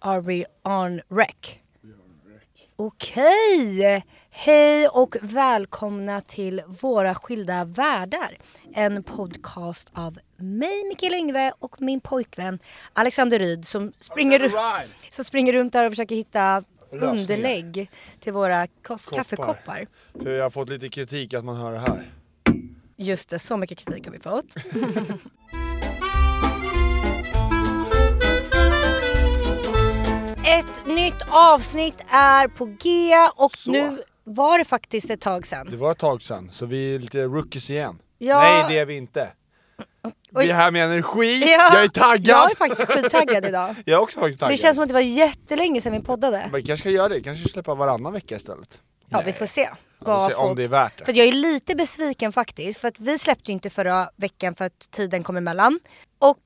Are we on rec? Okej! Hej och välkomna till Våra skilda världar. En podcast av mig, Mikael Yngve, och min pojkvän Alexander Ryd som springer, ru- som springer runt där och försöker hitta underlägg till våra koff- kaffekoppar. För jag har fått lite kritik att man hör det här. Just det, så mycket kritik har vi fått. Ett nytt avsnitt är på G och nu var det faktiskt ett tag Det sedan. var ett tag sedan, så vi är lite rookies igen. Ja. Nej, det är vi inte. Oj. Vi är här med energi, Ja, jag är taggad! Jag är faktiskt skittaggad idag. Jag är också faktiskt taggad. Det känns som att det var jättelänge sedan vi poddade. Men vi kanske ska göra det, kanske släppa varannan vecka istället. Ja, vi får se. Ja, Vad se om folk... det är värt det. För att jag är lite besviken faktiskt. För att vi släppte ju inte förra veckan för att tiden kom emellan. Och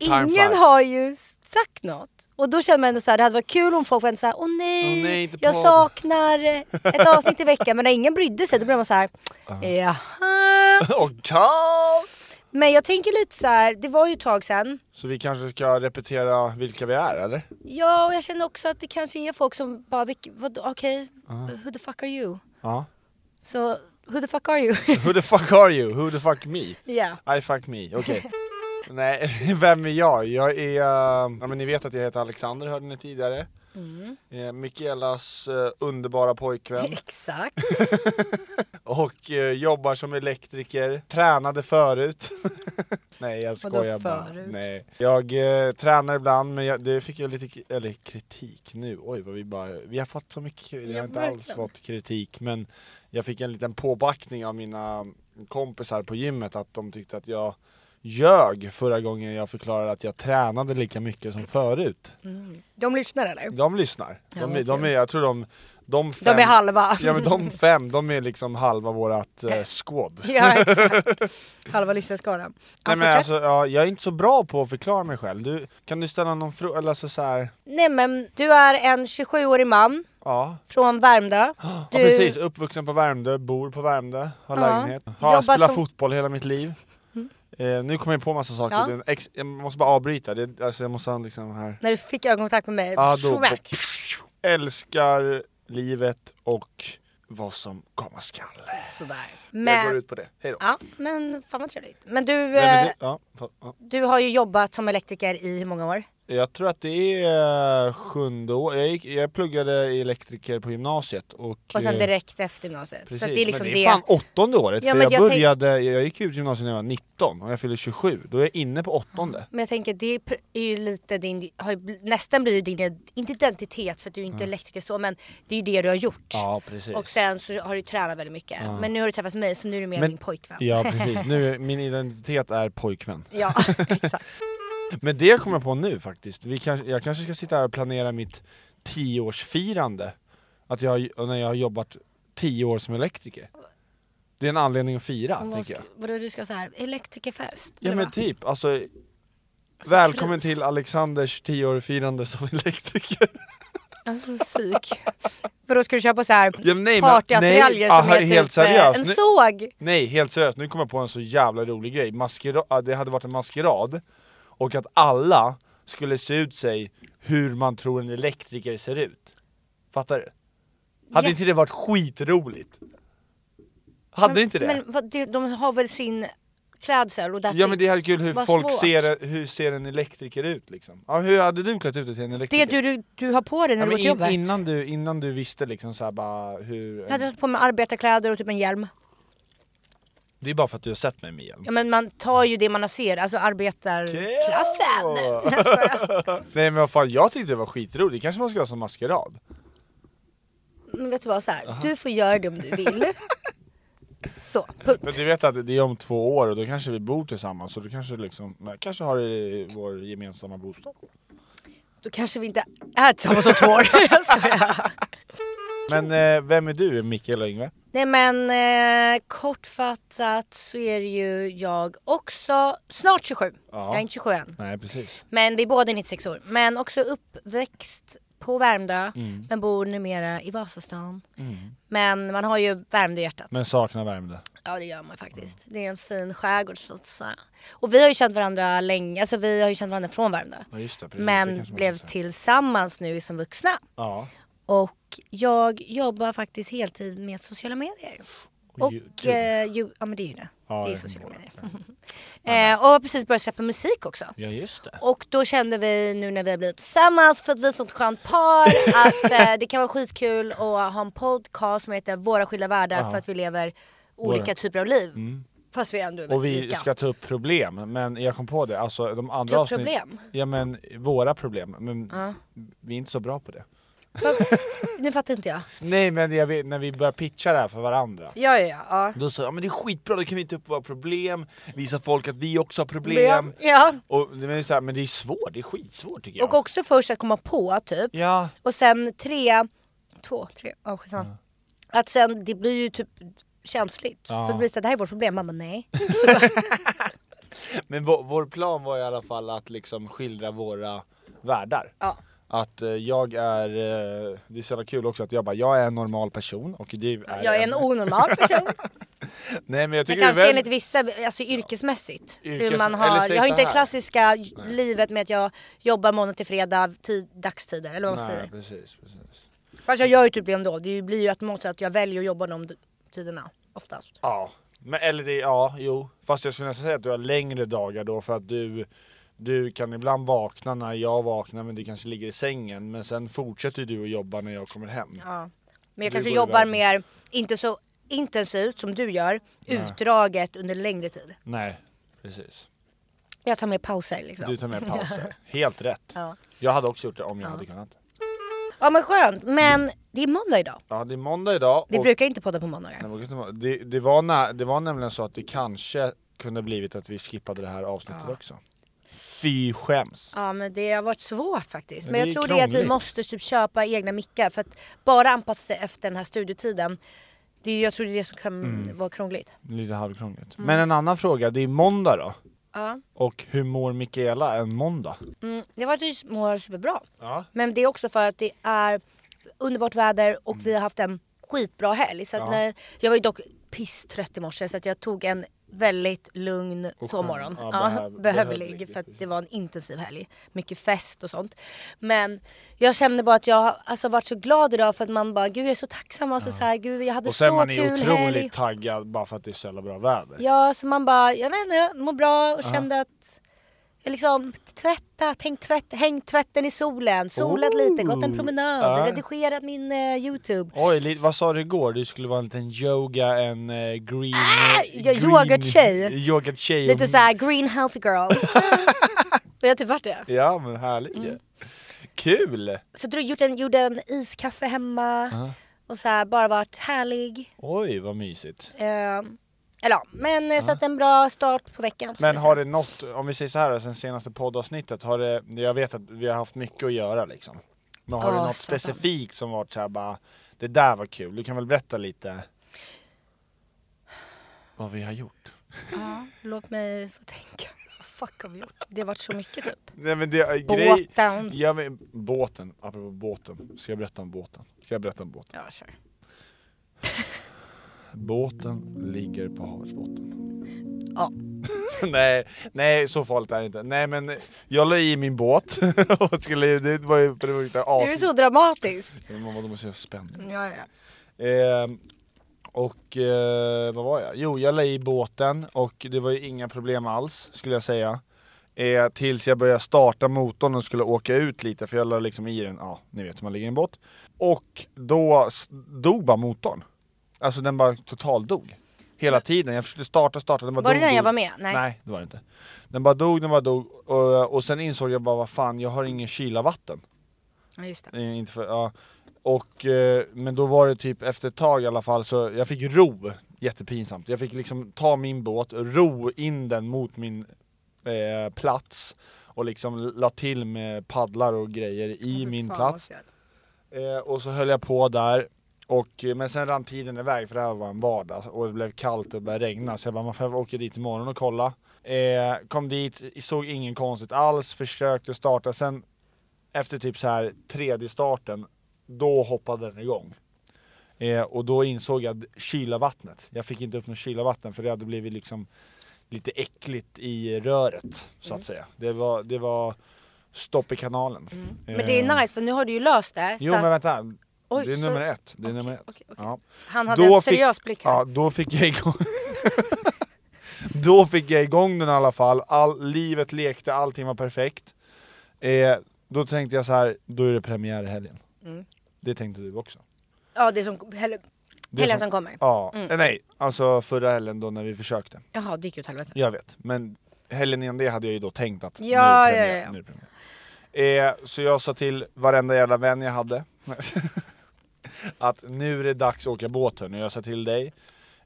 Time ingen flies. har ju sagt något. Och då känner man ändå så här, det hade varit kul om folk var ändå så här, åh nej, Åh nej, inte jag podd." saknar ett avsnitt i veckan. Men när ingen brydde sig, då blev man så här, jaha. Och kall! Men jag tänker lite så här, det var ju ett tag sedan. Så vi kanske ska repetera vilka vi är, eller? Ja, och jag känner också att det kanske är folk som bara, "Vilk- vadå, okej, who the fuck are you? Ja. Så, who the fuck are you? Who the fuck are you? Who the fuck me? Ja. I fuck me, okej. Nej, vem är jag? Jag är, eh, ja men ni vet att jag heter Alexander hörde ni tidigare. Mm. Eh, Mikaelas eh, underbara pojkvän. Exakt. Och eh, jobbar som elektriker, tränade förut. Nej jag skojar bara. förut? Nej. Jag eh, tränar ibland men jag, det fick jag lite k- eller, kritik nu. Oj vad vi bara, vi har fått så mycket kritik. Jag har inte alls verkligen. fått kritik men jag fick en liten påbackning av mina kompisar på gymmet att de tyckte att jag ljög förra gången jag förklarade att jag tränade lika mycket som förut. De lyssnar eller? De lyssnar. Mm. Ja, De, vad är- de kul. är, jag tror de, de fem, De är halva. Ja men de fem, de är liksom halva vårat eh, squad. Ja, exakt. Halva lyssnarskaran. Ja, Nej, men fortsätt. alltså, ja, jag är inte så bra på att förklara mig själv. Du, kan du ställa någon fråga? Eller alltså, så här, Nej men du är en 27-årig man ja. från Värmdö. ja, precis. Uppvuxen på Värmdö, bor på Värmdö, Ja. har lägenhet. Har Jobbar spelat som- Mm. fotboll hela mitt liv. Eh, nu kommer jag på massa saker. Ja. Det är en Ex, jag måste bara avbryta. Det, alltså, jag måste ha liksom här. När du fick ögonkontakt med mig, Ja, då- smack. Älskar livet och vad som komma skall. Sådär. Jag går Men, ut på det. Hej då. ja, men fan vad trevligt. Men du, Nej, men eh, det, ja, fa- ja. du har ju jobbat som elektriker i hur många år? Jag tror att det är sjunde år. Jag, gick, jag pluggade elektriker på gymnasiet och... Och sen eh, direkt efter gymnasiet. Precis, Så att det är liksom men det. det är fan åttonde året, Ja, för men jag, jag tänk- började, jag gick ut gymnasiet när jag var 19 och jag fyllde 27, då är jag inne på åttonde. Men jag tänker det är pr- är ju lite din, har ju, bl- nästan blir ju din, id- inte identitet för att du är inte elektriker så men det är ju det du har gjort. Mm. Ja precis. Och sen så har du tränat väldigt mycket. Men nu har du träffat mig så nu är du mer Men- min pojkvän. Ja precis, nu, är- min identitet är pojkvän. Ja, exakt. Men det kommer jag på nu faktiskt, Vi kanske, jag kanske ska sitta här och planera mitt tioårsfirande. Att jag, när jag har jobbat tio år som elektriker. Det är en anledning att fira, Vad ska- tänker jag. Vadå du ska så här elektrikerfest? Ja eller vad? men Alltså, typ, alltså Välkommen kris. till Alexanders tioårsfirande som elektriker. Alltså psyk. För då ska du köpa så här Ja, men nej, men- partyattiraljer nej, som aha, heter helt typ, eh, seriöst. en Nu- såg. Nej, helt seriöst, nu kommer jag på en så jävla rolig grej. Maskera- ah, det hade varit en maskerad, och att alla skulle se ut sig hur man tror en elektriker ser ut. Fattar du? Hade Ja. inte det varit skitroligt? Hade inte det? Men vad, det, de har väl sin klädsel och that's ja men it. det är kul hur alltså, Vad folk svårt. ser, hur ser en elektriker ut liksom. Ja, hur hade du klätt ut dig till en det du, elektriker? du, du har på dig när du ja, går men till jobbet. in, innan, du, innan du visste liksom så här bara hur... Jag hade haft på mig arbetarkläder och typ en hjälm. Det är bara för att du har sett mig med hjälm. Ja men man tar ju det man ser, alltså arbetarklassen. Okej. Jag skojar. Nej men vad fan, jag tyckte det var skitroligt. Det kanske man ska ha som maskerad. men vet du vad, så här, du får göra det om du vill. Så, Men punkt. du vet att det är om två år och då kanske vi bor tillsammans och då kanske liksom, men kanske har i vår gemensamma bostad. Då kanske vi inte är tillsammans om två år. Jag skojar. Men eh, vem är du, Mikael och Yngve? Nej men eh, kortfattat så är det ju jag också snart 27. Ja. Jag är inte 27 än. Nej precis. Men vi är båda 96 år. Men också uppväxt på Värmdö. Mm. Men bor numera i Vasastan. Men man har ju Värmdö i hjärtat. Men saknar Värmdö. Ja det gör man faktiskt. Det är en fin skärgård så att säga. Och vi har ju känt varandra länge. Alltså vi har ju känt varandra från Värmdö. Ja just det, precis. Det Men kanske man blev kan säga. tillsammans nu som vuxna. Ja. Och jag jobbar faktiskt heltid med sociala medier. Och Och, YouTube. eh, ju, ja men det är ju det. Ja, det är jag sociala förstår. medier. eh, och har precis börjat släppa musik också. Ja just det. Och då kände vi nu när vi har blivit tillsammans för att vi är ett sånt skönt par att eh, det kan vara skitkul att ha en podcast som heter Våra skilda världar för att vi lever olika Våra. Mm. typer av liv. Fast vi ändå är Och vi lika. ska ta upp problem, men jag kom på det, alltså de andra Ta upp avsnitt- problem? Ja men våra problem, men vi är inte så bra på det. Nu fattar inte jag. Nej men jag vet, när vi börjar pitcha det här för varandra Ja, ja, ja. ja. Då sa jag, "Ja, men det är skitbra, då kan vi ta upp våra problem, visa folk att vi också har problem. Problem. Ja. Och, men, det är så här, men det är svårt, det är skitsvårt tycker jag. Och också först att komma på typ. ja, Och sen tre, två, tre, ja skitsamma. Att sen det blir ju typ känsligt. För det blir så här, det här är vårt problem. Man bara nej. men vår, vår plan var i alla fall att liksom skildra våra världar. Ja. Att eh, jag är, eh, det är så jävla kul också att jag bara, jag är en normal person och du är Jag är en onormal person. Nej men jag Men tycker kanske väl... enligt vissa, alltså yrkesmässigt. hur Yrkes- man eller har, säg jag har så inte det här. klassiska j- livet med att jag jobbar måndag till fredag, tid, dagstider eller vad man Nej säger. precis, precis. Fast jag gör ju typ det ändå. Det blir ju automatiskt att jag väljer att jobba de d- tiderna. Oftast. Ja, men eller det, ja jo. Fast jag skulle nästan säga att du har längre dagar då för att du du kan ibland vakna när jag vaknar men du kanske ligger i sängen men sen fortsätter du att jobba när jag kommer hem. Ja. Men jag Du kanske går jobbar iväg. mer, inte så intensivt som du gör, utdraget under längre tid. Nej, precis. Jag tar med pauser liksom. Du tar med pauser. Helt rätt. Ja. Jag hade också gjort det om jag hade kunnat. Ja men skönt. Men det är måndag idag. Ja, det är måndag idag. Vi och- brukar inte podda på måndagar. Nej, men vet du vad? Det, det, var nä, det var nämligen så att det kanske kunde blivit att vi skippade det här avsnittet också. Fy skäms. Ja men det har varit svårt faktiskt. Men Men det jag är tror det är att vi krångligt. måste typ köpa egna mickar för att bara anpassa sig efter den här studietiden. Det, är- jag tror det är det som kan Mm. vara krångligt. Lite halvkrångligt. Men en annan fråga, det är måndag då. Mm. Ja. Och hur mår Mikaela en måndag? Mm, det var ju mår superbra. Ja. Men det är också för att det är underbart väder och vi har haft en skitbra helg. Så att Mm. Ja. när, jag var ju dock pisstrött i morse så att jag tog en väldigt lugn sovmorgon. Ja, Ja, behöv- behövlig, behövlig, för att det var en intensiv helg. Mycket fest och sånt. Men jag kände bara att jag har alltså, varit så glad idag för att man bara, gud jag är så tacksam. Alltså, så här, gud, jag hade Och sen så man är kul otroligt helg. taggad bara för att det är så jävla bra väder. Ja, så man bara, jag vet inte, jag mår bra och kände att jag liksom tvättat, hängt, tvätt, hängt tvätten i solen, solat Oh. lite, gått en promenad, Ja. redigerat min eh, YouTube. Oj, li- vad sa du igår? Du skulle vara en liten yoga, en eh, green... Ah, jag- yoghurt-tjej. Yoghurt-tjej. och- Lite såhär green healthy girl. och jag har typ varit det. Ja men härligt ju. Mm. Kul! Så jag gjort en, gjorde en iskaffe hemma och så här, bara varit härlig. Oj vad mysigt. Eh, eller ja, men uh så att en bra start på veckan. skulle Men jag har säga. det något, om vi säger så här sen senaste poddavsnittet, har det, jag vet att vi har haft mycket att göra liksom. Men har Ja, det något satan. specifikt som varit såhär bara, det där var kul, du kan väl berätta lite vad vi har gjort? Låt mig få tänka. Vad fuck har vi gjort? Det har varit så mycket typ. Nej men det är grej... Båten. Ja men båten, apropå båten, ska jag berätta om båten? Ska jag berätta om båten? Ja, kör. Båten ligger på havets botten. Ja. nej, nej så farligt är det inte. Nej men jag la i min båt och skulle, det var ju, för det var ju Du är så dramatisk. Mamma, då måste jag spänna. Ja, ja. Ehm, och eh, vad var jag? Jo, jag la i båten och det var ju inga problem alls skulle jag säga. Eh, tills jag började starta motorn och skulle åka ut lite för jag la liksom i den, ja ni vet hur man ligger i en båt. Och då s- dog bara motorn. Alltså den bara totaldog. Hela tiden. Jag försökte starta, starta, den bara Var det dog, den jag dog. var med? Nej. Nej, det var det inte. Den bara dog, den bara dog och, och sen insåg jag bara vad fan, jag har ingen kylavatten. Ja, just det. Eh, Inte för, ja. Och, eh, men då var det typ efter ett tag i alla fall så jag fick ro Jättepinsamt. Jag fick liksom ta min båt, ro in den mot min eh, plats och liksom la till med paddlar och grejer i min plats. Eh, och så höll jag på där. Och, eh, men sen rann tiden iväg för det här var en vardag och det blev kallt och det började regna så jag bara, man får åka dit imorgon och kolla. Eh, kom dit, såg ingen konstigt alls, försökte starta. Sen efter typ så här tredje starten, då hoppade den igång. Eh, och då insåg jag att kyla vattnet. Jag fick inte upp något kyla vatten för det hade blivit liksom lite äckligt i röret så Mm. att säga. Det var, det var stopp i kanalen. Mm. Men det är Eh, nice för nu har du ju löst det. Jo så men att vänta. Oj, det är så- nummer ett. Det är Okej, nummer ett. okej, okej. Ja. han hade en seriös fick, blick här. Ja, då fick jag igång... då fick jag igång den i alla fall. All, livet lekte, allting var perfekt. Eh, då tänkte jag så här, då är det premiär i helgen. Mm. Det tänkte du också. Ja, det är som hel- Det är helgen som... kommer. Mm. Ja, eh, nej, alltså förra helgen då när vi försökte. Jaha, det gick ju åt helvete. Jag vet, men helgen innan det hade jag ju då tänkt att nu Ja, är det premiär, ja, ja. nu är det premiär. Eh, så jag sa till varenda jävla vän jag hade att nu är det dags att åka båt hörni. Jag sa till dig.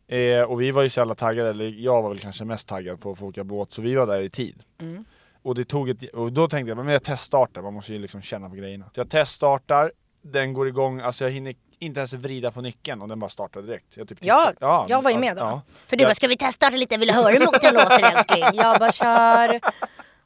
Eh, och vi var ju så jävla taggade, eller jag var väl kanske mest taggad på att få åka båt, så vi var där i tid. Mm. Och, det tog ett, och då tänkte jag, men jag teststartar, man måste ju liksom känna på grejerna. Så jag teststartar, den går igång, alltså jag hinner inte ens vrida på nyckeln och den bara startar direkt. Jag typ Ja, tittar. jag var ju alltså, med då. ja. För du Ja. bara, ska vi testa det lite? Vill du höra hur motorn låter älskling? Jag bara, kör.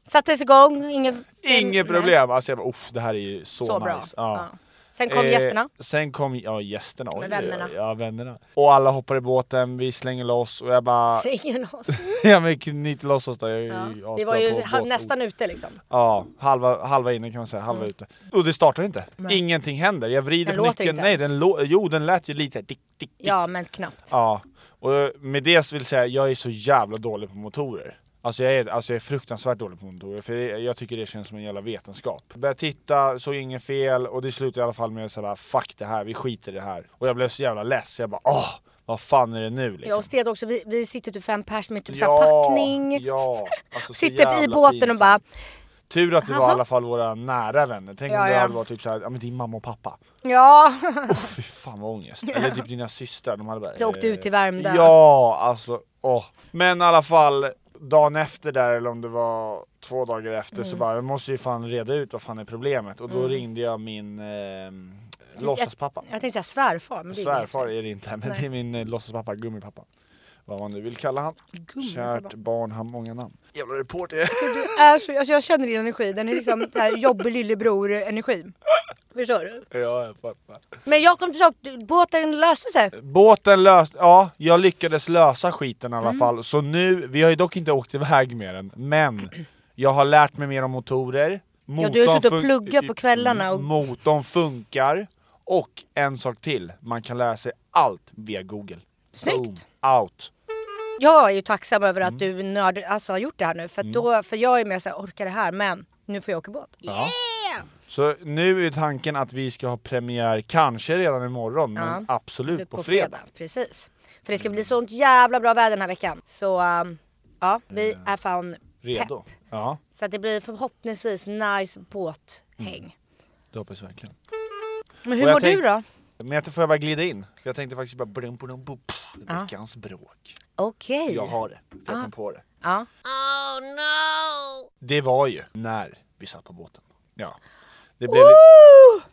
Sattes igång, inget... Inget problem! Alltså jag bara, uff, det här är ju så, Så nice. bra. Ja. Ja. Sen kom Eh, gästerna. Sen kom ja, gästerna. Oj, Med vännerna. Ja, vännerna. Och alla hoppar i båten, vi slänger loss och jag bara... Ingen oss. ja men knyter loss oss där. Jag är Ja. ju asbra Vi var ju på halv, båt. nästan ute liksom. Ja, halva, halva inne kan man säga, halva ute. Och det startar inte. Ingenting händer. Jag vrider Den på låter nyckeln. inte Nej, ens. den lå- jo den lät ju lite dick, dick, dick. Ja, men knappt. Ja, och med det vill säga jag är så jävla dålig på motorer. Alltså jag, är, alltså jag är fruktansvärt dålig på motorer för jag, jag tycker det känns som en jävla vetenskap. Började titta, såg inget fel och det slutade i alla fall med såhär fuck det här, vi skiter i det här. Och jag blev så jävla less, jag bara åh, vad fan är det nu liksom? Jag och Sted också, vi, vi sitter typ fem pers med typ Ja, ja, packning. Ja, alltså så sitter i jävla båten och pinsamt. bara, Tur att det var i Jaha. alla fall våra nära vänner. Tänk om Ja, det ja. hade varit typ såhär, ja men din mamma och pappa. ja. Åh fy fan vad ångest. Eller typ dina systrar, de hade bara... eh, Så åkte ut till Värmdö. Ja, alltså åh. Men i alla fall, dagen efter där eller om det var två dagar efter Mm. så bara, jag måste ju fan reda ut vad fan är problemet. Och då ringde jag min eh, låtsaspappa. Jag tänkte säga svärfar, men det är Svärfar är det inte, men det är min eh, låtsaspappa, gummipappa. Vad man nu vill kalla han. Kärt barn har många namn. Jävla reporter. Alltså, alltså jag känner din energi, den är liksom så här jobbig lillebror energi. Förstår du? ja, jag fattar. Men jag kom till sak, du- båten löste sig. Båten löste, ja, jag lyckades lösa skiten i alla Mm. fall. Så nu, vi har ju dock inte åkt iväg med den, men jag har lärt mig mer om motorer. Ja, du har Motorn suttit och fun- pluggat på kvällarna och- Motorn funkar. Och en sak till, man kan lära sig allt via Google. Snyggt. Boom, out! Jag är ju tacksam över att Mm. du nörd, alltså, har gjort det här nu, för, att då, för jag är mer såhär, orkar det här? Men nu får jag åka båt. Ja. Så nu är tanken att vi ska ha premiär, kanske redan imorgon, men absolut på, fredag. Precis. För det ska bli sånt jävla bra väder den här veckan. Så um, ja, vi är fan Mm. Redo? pepp. Ja, Så att det blir förhoppningsvis nice båthäng. det hoppas jag verkligen. Men Mm. Och hur jag mår du tänk- då? Men jag får jag bara glida in? För Jag tänkte faktiskt bara brum, brum, brum, pff, veckans bråk. Okej. Jag har det, för jag kom på det. Ja. Det var ju när vi satt på båten. Ja. Det blev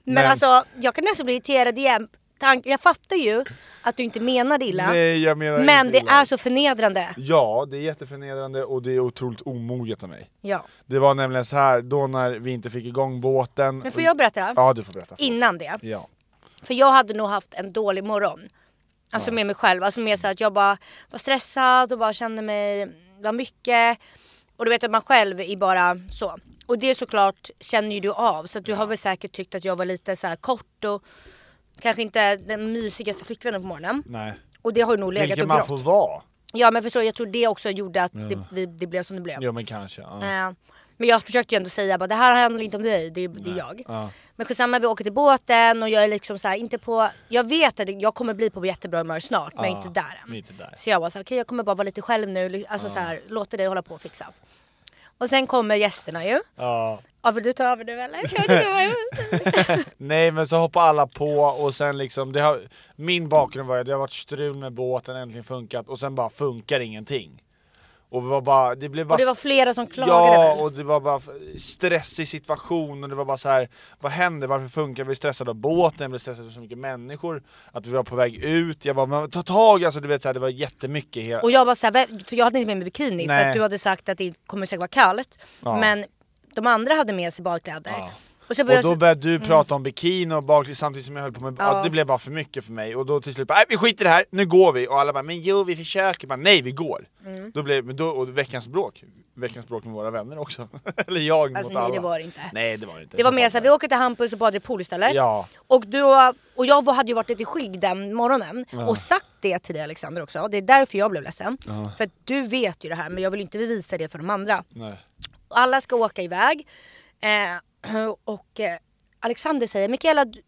Men, Men- alltså, jag kan nästan bli irriterad igen. Tank, jag fattar ju att du inte menar det illa. Nej, jag menar men inte det illa. är så förnedrande. Ja, det är jätteförnedrande och det är otroligt omoget av mig. Ja. Det var nämligen så här då när vi inte fick igång båten. Men får jag berätta? Ja, du får berätta. Innan det. Ja. För jag hade nog haft en dålig morgon. Alltså med mig själv. Alltså med så att jag bara var stressad och bara kände mig, det var mycket. Och du vet att man själv är bara så. Och det såklart känner ju du av. Så att du har väl säkert tyckt att jag var lite så här kort och kanske inte den mysigaste flickvännen på morgonen. Nej. Och det har ju nog legat Vilken och man grott. får vara. Ja men förstår du, jag tror det också gjorde att det, vi, det blev som det blev. Ja men kanske. Ja. Eh, men jag försökte ju ändå säga bara det här handlar inte om dig, det, är- det är jag. Men skitsamma vi åker till båten och jag är liksom så här, inte på, jag vet att jag kommer bli på jättebra humör snart men jag är inte där men än. inte där. Så jag var så här, okej jag kommer bara vara lite själv nu, alltså så här, låter dig hålla på och fixa. Och Och sen kommer gästerna ju. Ja. Ja, vill du ta över nu eller? Jag vet inte vad jag- Nej men så hoppar alla på och sen liksom, det har, min bakgrund var ju, det har varit strul med båten, äntligen funkat och sen bara funkar ingenting. Och det var bara, det blev bara Och det var flera som klagade Ja, väl? och det var bara stressig situation och det var bara så här. vad händer? Varför funkar vi? Vi är stressade av båten, vi blev stressade av så mycket människor, att vi var på väg ut, jag bara, men ta tag alltså du vet så här, det var jättemycket hela... Och jag bara såhär, "Vä- för jag hade inte med mig bikini för Nej. att du hade sagt att det kommer säkert vara kallt. Ja. Men de andra hade med sig badkläder. Ja. Och, så Och började då jag, mm. började du prata om bikini och bakliv samtidigt som jag höll på med Ja. ja. Det blev bara för mycket för mig och då till slut bara, "Nej, vi skiter i det här, nu går vi! Och alla bara, men jo vi försöker, bara, nej vi går! Mm. Då blev, men då, och veckans bråk, veckans bråk med våra vänner också. Eller jag alltså, mot alla. nej, det var det inte. Nej det var det inte. Det var mer såhär, vi åker till Hampus och badar i pool istället. Ja. Och, då, och jag var- hade ju varit lite skygg den morgonen och sagt det till dig Alexander också. Det är därför jag blev ledsen. För att du vet ju det här men jag vill inte visa det för de andra. Nej. Och alla ska åka iväg. Eh, och eh, Alexander säger Mikaela, du-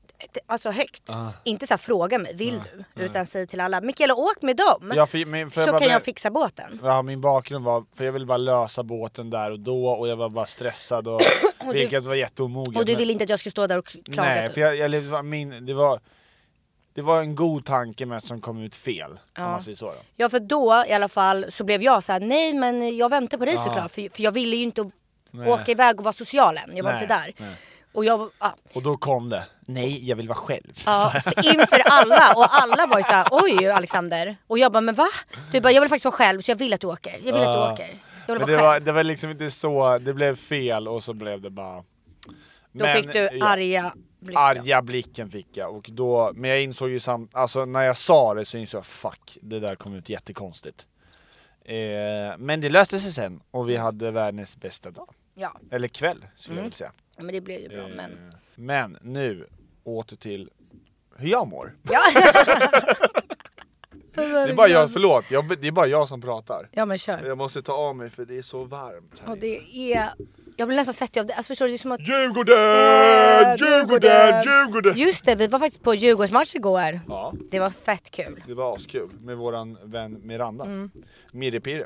alltså högt, Ah. inte så här, fråga mig, vill du? Utan säg till alla, Mikaela åk med dem. Ja, för, men, för så bara- kan jag fixa båten. Ja, min bakgrund var, för jag ville bara lösa båten där och då och jag var bara stressad och, vilket var jätteomoget. Och du men- ville inte att jag skulle stå där och kl- klaga. Nej, typ. för jag, jag, det, var min, det, var, det var en god tanke men som kom ut fel. Om man säger så då. Ja för då i alla fall så blev jag så här: nej men jag väntar på dig såklart. För, för jag ville ju inte Nej. åka iväg och vara social än, jag var Nej, inte där. nej. Och jag var, ja, Och då kom det. Nej, jag vill vara själv. ja, för inför alla och alla var ju såhär oj Alexander. Och jag bara men va? Du bara jag vill faktiskt vara själv så jag vill att du åker. Jag vill att du Ja. åker. Jag vill vara Men det, själv. var, det var liksom inte så, det blev fel och så blev det bara... Då fick du ja, arga blicken. arga blicken fick jag och då, men jag insåg ju sam, alltså när jag sa det så insåg jag fuck, det där kom ut jättekonstigt. Eh, men det löste sig sen och vi hade världens bästa dag. Ja, Eller kväll skulle jag vilja säga. Eh, men det blev ju bra. Mm. Mm. Men... Men nu åter till hur jag mår. Ja. Det är bara jag, förlåt, jag, det är bara jag som pratar. ja men kör. Jag måste ta av mig för det är så varmt här Och inne. det är... Jag blir nästan svettig av det. Alltså förstår du? Det är som att... Eh, Djurgården! Djurgården! Djurgården! Just det, vi var faktiskt på Djurgårdsmatch igår. Ja, Det var fett kul. det var askul med våran vän Miranda. Mm. Mirrepirre.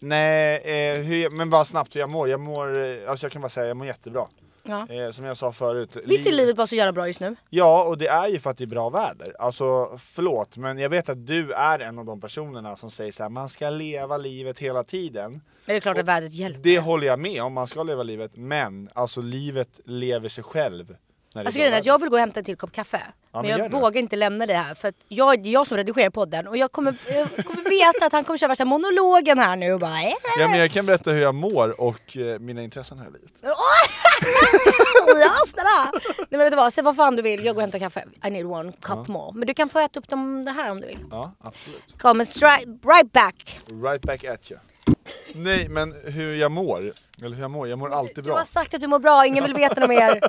Nej, eh, hur, jag- men bara snabbt hur jag mår. Jag mår, eh, alltså jag kan bara säga jag mår jättebra. Ja. Eh, som jag sa förut. Visst är liv- livet bara så jävla bra just nu? Ja, och det är ju för att det är bra väder. Alltså, förlåt, men jag vet att du är en av de personerna som säger så här, man ska leva livet hela tiden. Men det är klart att vädret hjälper. Det håller jag med om, man ska leva livet, men alltså livet lever sig själv. När det Alltså är bra grejen är att väder. jag vill gå och hämta en till kopp kaffe. men men jag gör det. vågar inte lämna det här för att jag, det är jag som redigerar podden och jag kommer, jag kommer veta att han kommer köra värsta monologen här nu och bara eh. Ja, men jag kan berätta hur jag mår och eh, mina intressen här i livet. Ja, snälla! Nej men vet du vad, säg vad fan du vill, jag går och hämtar kaffe. I need one cup more. Men du kan få äta upp dem det här om du vill. Ja, absolut. Come and stri- right back! Right back at you. Nej, men hur jag mår. Eller hur jag mår, jag mår alltid Du har bra. sagt att du mår bra, ingen vill veta något mer.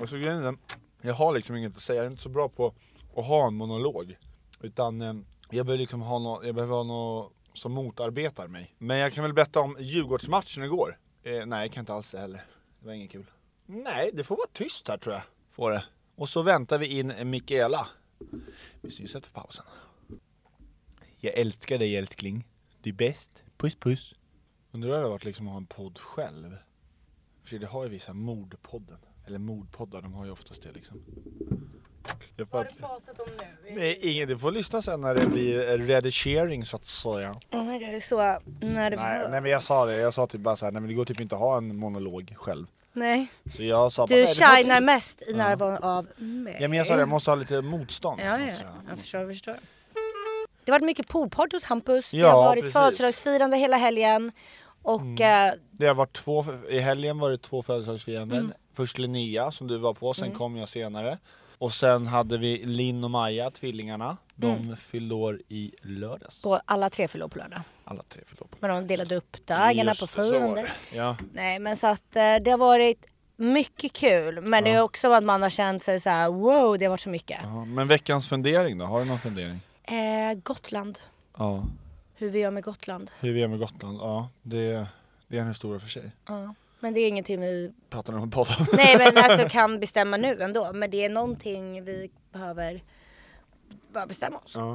Och så grejen är, jag har liksom inget att säga, jag är inte så bra på att ha en monolog. Utan eh, jag behöver liksom ha något, jag behöver ha något som motarbetar mig. Men jag kan väl berätta om Djurgårdsmatchen igår. Eh, nej, jag kan inte alls det heller. Det var inget kul. Nej, det får vara tyst här tror jag. Får det. Och så väntar vi in Mikaela. Vi syns efter pausen. Jag älskar dig älskling. Du är bäst. Puss puss. Undrar hur det har varit liksom att ha en podd själv. För det har ju vissa mordpodden. Eller mordpoddar, de har ju oftast det liksom. Jag fatt... pratat om nu? Nej, ingen, du får lyssna sen när det blir redigering så att säga. Oh my god, jag är så nervös. Nej, nej men jag sa det, jag sa typ bara såhär, nej men det går typ inte att ha en monolog själv. Nej. Så jag sa bara, Du nej, det får tyst. shinar mest i närvaron av mig. Ja men jag sa det, jag måste ha lite motstånd. Ja, ja, Måste jag. jag förstår, jag förstår. Det har varit mycket poolparty hos Hampus, det Ja, har varit precis. Mm. födelsedagsfirande hela helgen och eh, Det har varit två, i helgen var det två födelsedagsfiranden. Först Linnea som du var på, sen kom jag senare. Och sen hade vi Linn och Maja, tvillingarna. De fyllde år i lördags. och alla tre fyller år på lördag. Alla tre fyllde år på Men de delade upp dagarna Just på det, så var firande. det. Ja. Nej men så att eh, det har varit mycket kul men det är också att man har känt sig så här: wow det har varit så mycket. ja, men veckans fundering då? Har du någon fundering? Eh, Gotland, Ja. hur vi gör med Gotland. Hur vi är med Gotland? Ja, det, det är en historia för sig. Ja. Men det är ingenting vi, Pratar ni om podden? nej men alltså kan bestämma nu ändå. Men det är någonting vi behöver bara bestämma oss. Ja.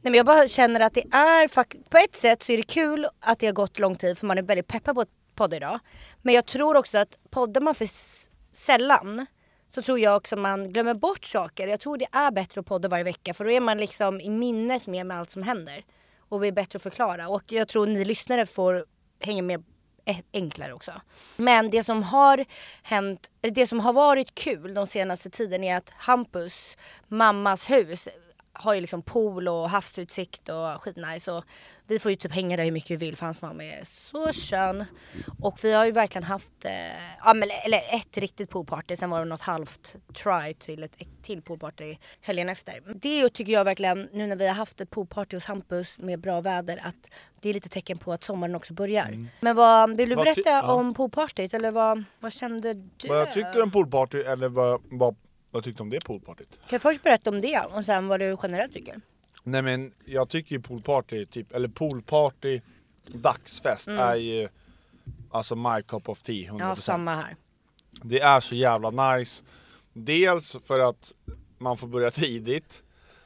Nej men jag bara känner att det är fakt- på ett sätt så är det kul att det har gått lång tid för man är väldigt peppad på att podda idag. Men jag tror också att poddar man för s- sällan så tror jag också man glömmer bort saker. Jag tror det är bättre att podda varje vecka för då är man liksom i minnet mer med allt som händer. Och blir bättre att förklara. Och jag tror ni lyssnare får hänga med eh, enklare också. Men det som har hänt, eller det som har varit kul de senaste tiden är att Hampus mammas hus har ju liksom pool och havsutsikt och skitnice och vi får ju typ hänga där hur mycket vi vill för hans mamma är så skön. Och vi har ju verkligen haft, eh, ja men eller ett riktigt poolparty sen var det något halvt try till ett till poolparty helgen efter. Det tycker jag verkligen nu när vi har haft ett poolparty hos Hampus med bra väder att det är lite tecken på att sommaren också börjar. Men vad, vill du Mm. Vad ty- berätta ja. om poolpartyt eller vad, vad kände du? Vad jag tycker om poolparty eller vad, vad, vad tyckte om det poolpartyt? Kan jag först berätta om det och sen vad du generellt tycker? Nej men jag tycker ju poolparty, typ, eller poolparty, dagsfest är ju Alltså my cup of tea, 100%. Mm. Ja, samma här. Det är så jävla nice. Dels för att man får börja tidigt,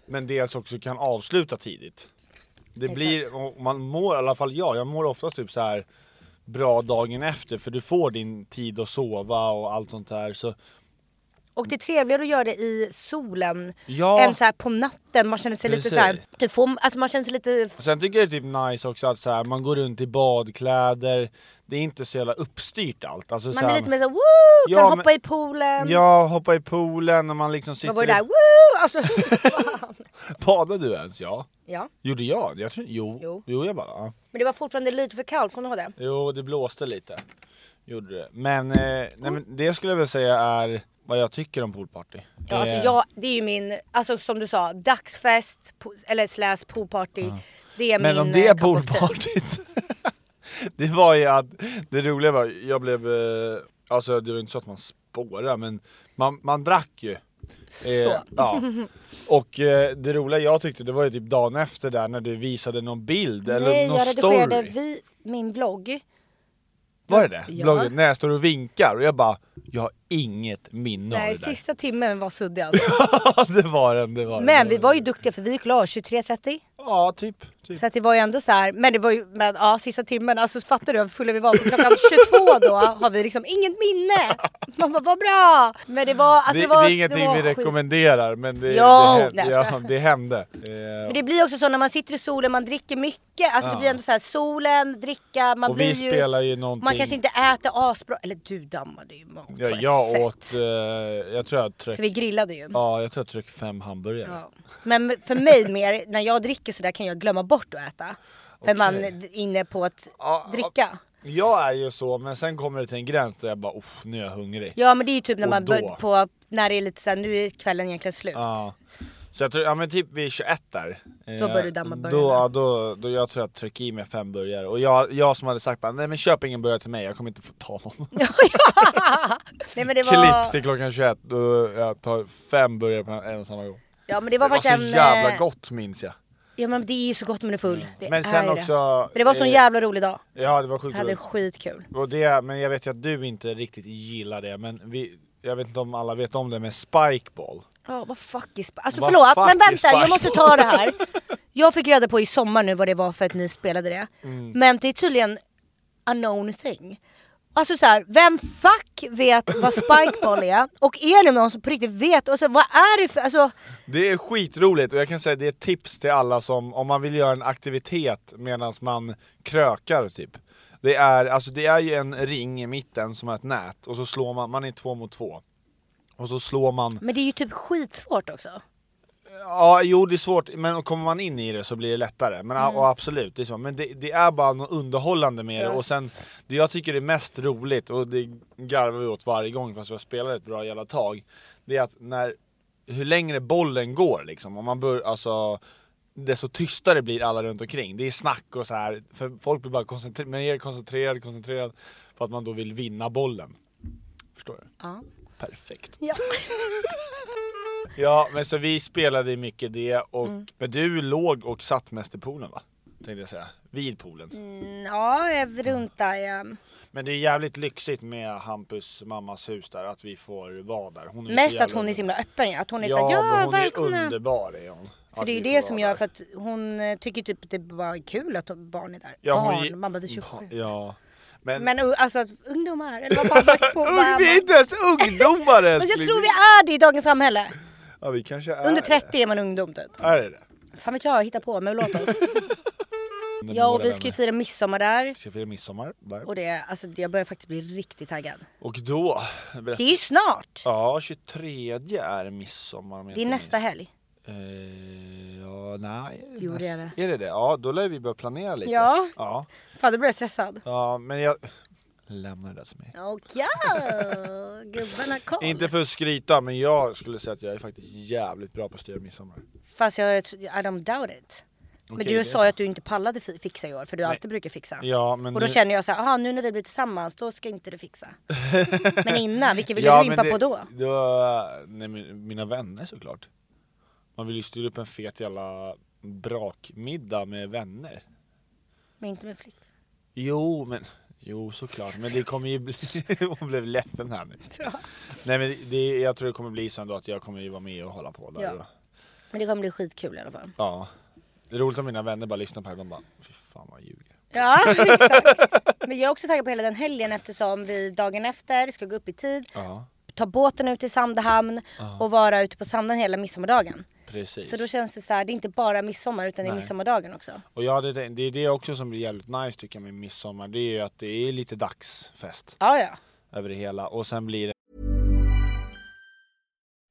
men dels också kan avsluta tidigt. Det blir, och man mår i alla fall jag, jag mår oftast typ så här bra dagen efter för du får din tid att sova och allt sånt där. Så Och det är trevligare att göra det i solen Ja. än så här på natten. Man känner sig lite Precis. så här, du får, alltså man känner sig lite Och Sen tycker jag det är typ nice också att så här, man går runt i badkläder, det är inte så jävla uppstyrt allt. Alltså, så man här, är lite mer såhär woo, Ja, kan men- hoppa i poolen. Ja, hoppa i poolen och man liksom sitter... Vad var det i- där? Woo! Alltså, Badade du ens? Ja. ja. Gjorde jag? jag tror... jo. Jo. jo. jag bara... Ja. Men det var fortfarande lite för kallt, kommer du ihåg det? Jo, det blåste lite. Gjorde det. Men, eh, Mm. nej, men det skulle jag väl säga är vad jag tycker om poolparty. Ja, alltså, Eh, jag, det är ju min, alltså som du sa, dagsfest po- eller slash poolparty. Det är Men min om det eh, är cup of tea. poolpartyt. det var ju att, det roliga var, jag blev, eh, alltså det var inte så att man spårade men man, man drack ju. Eh, Så. ja. Och eh, det roliga jag tyckte det var ju typ dagen efter där när du visade någon bild eller Nej, någon jag redigerade story. vi, min vlogg. Var det det? Ja. Bloggen, när jag står och vinkar och jag bara, jag har inget minne av Nej, det där. sista timmen var suddig alltså. Ja det var den, det var den. Men vi var ju duktiga för vi gick klar 23.30. Ja typ. typ. Så att det var ju ändå så här, men det var ju, men ja sista timmen, alltså fattar du hur fulla vi var? För klockan 22 då har vi liksom inget minne. Man bara, vad bra! Men det var, alltså det, det, var, det är ingenting var vi skit. rekommenderar men det, Ja, det, hände, nej, jag ja, det hände. Eh, Men det blir också så när man sitter i solen, man dricker mycket, alltså det blir ändå så här solen, dricka, man och blir vi ju... spelar ju någonting. Man kanske inte äter asbra, eller du dammade ju mat ja, på ett jag sätt. åt, eh, jag tror jag tryck, För vi grillade ju. ja jag tror jag tryck fem hamburgare. Ja. Men för mig mer, när jag dricker sådär kan jag glömma bort att äta. För man är inne på att Ja, dricka. Jag är ju så men sen kommer det till en gräns där jag bara "Uff, nu är jag hungrig. Ja men det är ju typ när Och man då? bör, på, när det är lite såhär, nu är kvällen egentligen slut. Ja. Så jag tror, ja men typ vid 21 där. eh, Då börjar du damma Då, burgarna. ja, då, då jag tror jag tryckte i mig fem burgare. Och jag, jag som hade sagt bara, nej men köp ingen burgare till mig, jag kommer inte få ta någon. Nej men det Klipp var, till klockan 21 då jag tar fem burgare på en och samma gång. ja, men det var Det var faktiskt så en, jävla eh, gott minns jag. Ja men det är ju så gott man är full. Det Men är sen ju det. också- Men det var en sån eh, jävla rolig dag. Ja det var sjukt Jag hade roligt. skitkul. Och det, men jag vet ju att du inte riktigt gillar det, men vi, jag vet inte om alla vet om det, men spikeball. Ja vad fuck is... Alltså Vad förlåt fuck men is vänta jag Spike? måste ta det här. Jag fick reda på i sommar nu vad det var för att ni spelade det. Mm. Men det är tydligen a known thing. Alltså såhär, vem fuck vet vad spikeball är? Och är det någon som på riktigt vet? Och så, vad är det för... Alltså, Det är skitroligt och jag kan säga det är ett tips till alla som, om man vill göra en aktivitet medan man krökar typ. Det är, alltså det är ju en ring i mitten som är ett nät och så slår man, man är två mot två. Och så slår man, men det är ju typ skitsvårt också. ja jo det är svårt, men kommer man in i det så blir det lättare. Men ja, och absolut, det är så. Men det, det är bara något underhållande med det och sen, det jag tycker är mest roligt och det garvar vi åt varje gång fast vi har spelat ett bra jävla tag. Det är att när, hur längre bollen går liksom, om man bör, alltså desto tystare blir alla runt omkring. Det är snack och så här. För folk blir bara koncentrerade, mer koncentrerade, koncentrerade för att man då vill vinna bollen. Förstår du? Ja. Perfekt. Ja. Mm. Ja, men så vi spelade mycket det och men du låg och satt mest i poolen va? tänkte jag säga. Vid poolen. Mm. Ja, jag vruntar jag. Men det är jävligt lyxigt med Hampus mammas hus där, att vi får vara där. Hon är ju Mest så att jävla hon är så himla öppen. Att hon är Ja, såhär, ja men hon är ju välkomna. underbar är hon. För det är ju det som gör för att hon eh, tycker typ att det bara är kul att barn är där. Ja, hon Mm, barn, ge- man bara vi är 27. Ja. Men, Men uh, alltså att ungdomar, eller vad fan man får Ung- vara vi är inte ens ungdomar Fast jag älskling! tror vi är det i dagens samhälle. Ja vi kanske är Under det. 30 är man ungdom typ. Är det det? Fan vet jag, hitta på men låt oss. Ja och vi ska ju fira midsommar där. Ska fira midsommar där. Och det, alltså jag börjar faktiskt bli riktigt taggad. Och då... Det är ju snart! Ja, 23 är midsommar om jag Det är inte nästa minns. helg. Eh, ja, nej. Gjorde jag näst- Är det det? Ja, då lär vi börja planera lite. Ja. Ja, Fan då blir jag stressad. ja men jag... Lämna det där till mig. Okej, gubben har koll. Inte för att skryta, men jag skulle säga att jag är faktiskt jävligt bra på att styra midsommar. Fast jag, I don't doubt it. Men Okej, du det- sa ju att du inte pallade fi- fixa i år, för du alltid brukar fixa. Ja, men och då nu- känner jag så här, aha, nu när vi blir tillsammans, då ska inte du fixa. men innan, vilka vill du men limpa det- på då? nej, men mina vänner såklart. Man vill ju styra upp en fet jävla brakmiddag med vänner. Men inte med flick. Jo, men jo såklart. Men det kommer ju bli... Hon blev ledsen här nu. Nej, men det, jag tror det kommer bli så ändå att jag kommer ju vara med och hålla på där. Ja. och- Men det kommer bli skitkul i alla fall. ja. Det är roligt om mina vänner bara lyssnar på det här. De bara, fy fan vad jag ljuger. Ja, exakt. Men jag är också taggad på hela den helgen eftersom vi dagen efter ska gå upp i tid, Ja, ta båten ut till Sandhamn och vara ute på Sandhamn hela midsommardagen. Ah. precis. Så då känns det så här, det är inte bara midsommar utan det är Nej. midsommardagen också. Och ja, det, det är det också som blir jävligt nice tycker jag med midsommar. Det är ju att det är lite dagsfest Ja, ja. över det hela. Och sen blir det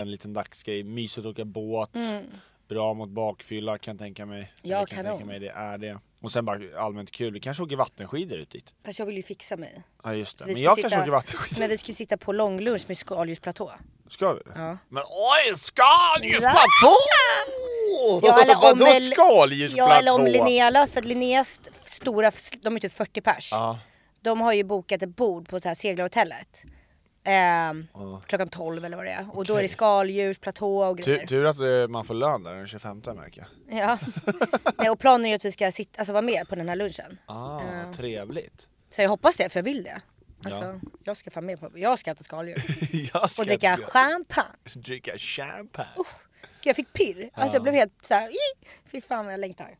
en liten dagsgrej. Mysigt att åka båt. Bra mot bakfylla kan jag tänka mig. Mm. Ja, jag kan kanon. tänka mig det är det. Och sen bara allmänt kul. Vi kanske åker vattenskidor ut dit. Fast jag vill ju fixa mig. Ja just det. Vi Men ska jag sitta- kanske åker vattenskidor. Men vi ska ju sitta på långlunch med Skaldjurs platå. Ska vi? Ja. Men oj, skaldjursplatå! Ja! Vadå L- skaldjursplatå? Ja eller om Linnea löst för att Linneas st- stora, de är typ 40 pers. Ja. De har ju bokat ett bord på det här seglarhotellet. Ehm, Klockan 12 eller vad det är. Och då är det skaldjursplatå och Tur, grejer. tur att eh, man får lön där den 25 märker jag. Ja. Nej, och planen är ju att vi ska sitta, alltså, vara med på den här lunchen. Ah, Trevligt. Så jag hoppas det för jag vill det. Alltså, jag ska fan med på, jag ska äta skaldjur. jag ska Och dricka dricka- champagne. dricka champagne. Gud, jag fick pirr. Alltså jag blev helt såhär, "Ih, fy fan vad jag längtar.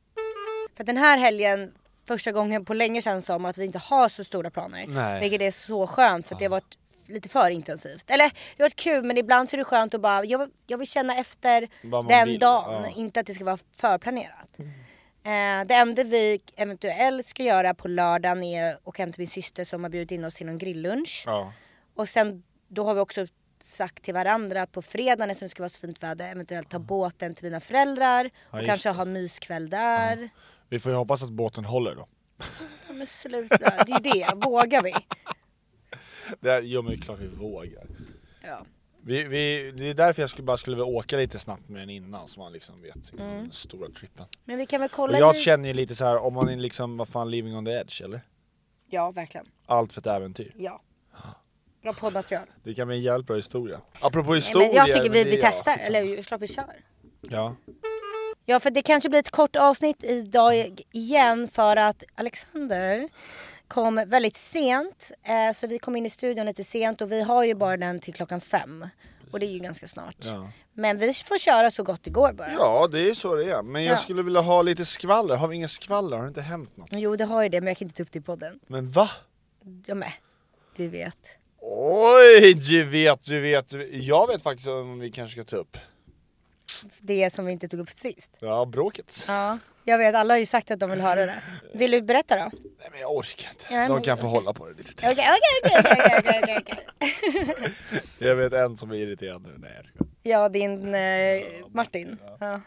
För att den här helgen, första gången på länge känns det som att vi inte har så stora planer. Nej. Vilket är så skönt för att det har varit lite för intensivt. Eller det har varit kul men ibland så är det skönt att bara, jag, jag vill känna efter Vad man den vill, dagen. ja. Mm. Inte att det ska vara förplanerat. Eh, det enda vi eventuellt ska göra på lördagen är att åka hem till min syster som har bjudit in oss till någon grilllunch. Ja. Och sen då har vi också sagt till varandra att på fredagen eftersom det ska vara så fint väder eventuellt ta båten till mina föräldrar och just kanske ha myskväll där. Vi får ju hoppas att båten håller då. Ja. Men sluta, det är ju det. Vågar vi? Det här, jo men det är klart vi vågar. Ja. Vi, vi, det är därför jag skulle, bara skulle vilja åka lite snabbt med den innan så man liksom vet mm. den stora trippen. Men vi kan väl Och kolla jag i- känner ju lite så här om man är liksom, vad fan, living on the edge eller? Ja, verkligen. Allt för ett äventyr. Ja. Bra poddmaterial. Det kan bli en jävligt bra historia. Apropå Nej, historia. men jag tycker vi, det- liksom. vi ja, testar, skitsamma. eller hur? klart vi kör. Ja. Ja, för det kanske blir ett kort avsnitt idag igen för att Alexander kom väldigt sent. Eh, så vi kom in i studion lite sent och vi har ju bara den till klockan fem. Och det är ju ganska snart. Ja. Men vi får köra så gott det går bara. Ja, det är så det är. Men jag Ja. skulle vilja ha lite skvaller. Har vi inga skvaller? Har det inte hänt något? Jo, det har ju det, men jag kan inte ta upp det i podden. Men va? Jag med. Du vet. Oj, du vet, du vet, du vet. Jag vet faktiskt om vi kanske ska ta upp. Det som vi inte tog upp sist. Ja, bråket. Ja. Jag vet, alla har ju sagt att de vill höra det. Vill du berätta då? Nej men jag orkar inte. Nej, De men- kan få hålla på det lite till. Okej, okej, okej, okej, okej, okej, okej. Jag vet en som är irriterad nu. Nej jag skojar. Ja, din eh, Martin. Ja.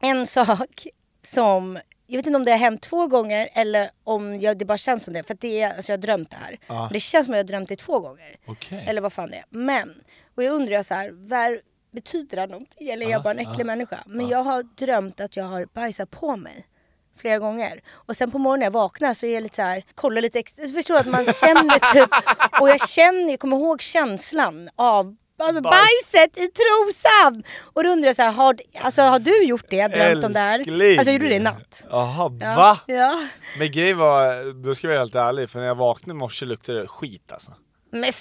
En sak som, jag vet inte om det har hänt två gånger eller om jag, det bara känns som det. För att det är, alltså jag har drömt det här. Men Det känns som att jag har drömt det två gånger. Okej. Eller vad fan det är. Men, och jag undrar jag så här, var, betyder det någonting? Eller är jag bara en äcklig människa? Men jag har drömt att jag har bajsat på mig. Flera gånger. Och sen på morgonen när jag vaknar så är jag lite så här, kollar lite extra. Du förstår att man känner typ, och jag känner, jag kommer ihåg känslan av Alltså bajset i trosan! Och då undrar jag så här, har, alltså, har du gjort det? Drömt om det här? Älskling! Alltså jag gjorde det i natt. Jaha, Ja. va? Ja. Men grejen var, då ska jag vara helt ärlig, för när jag vaknade i morse luktade det skit alltså. Men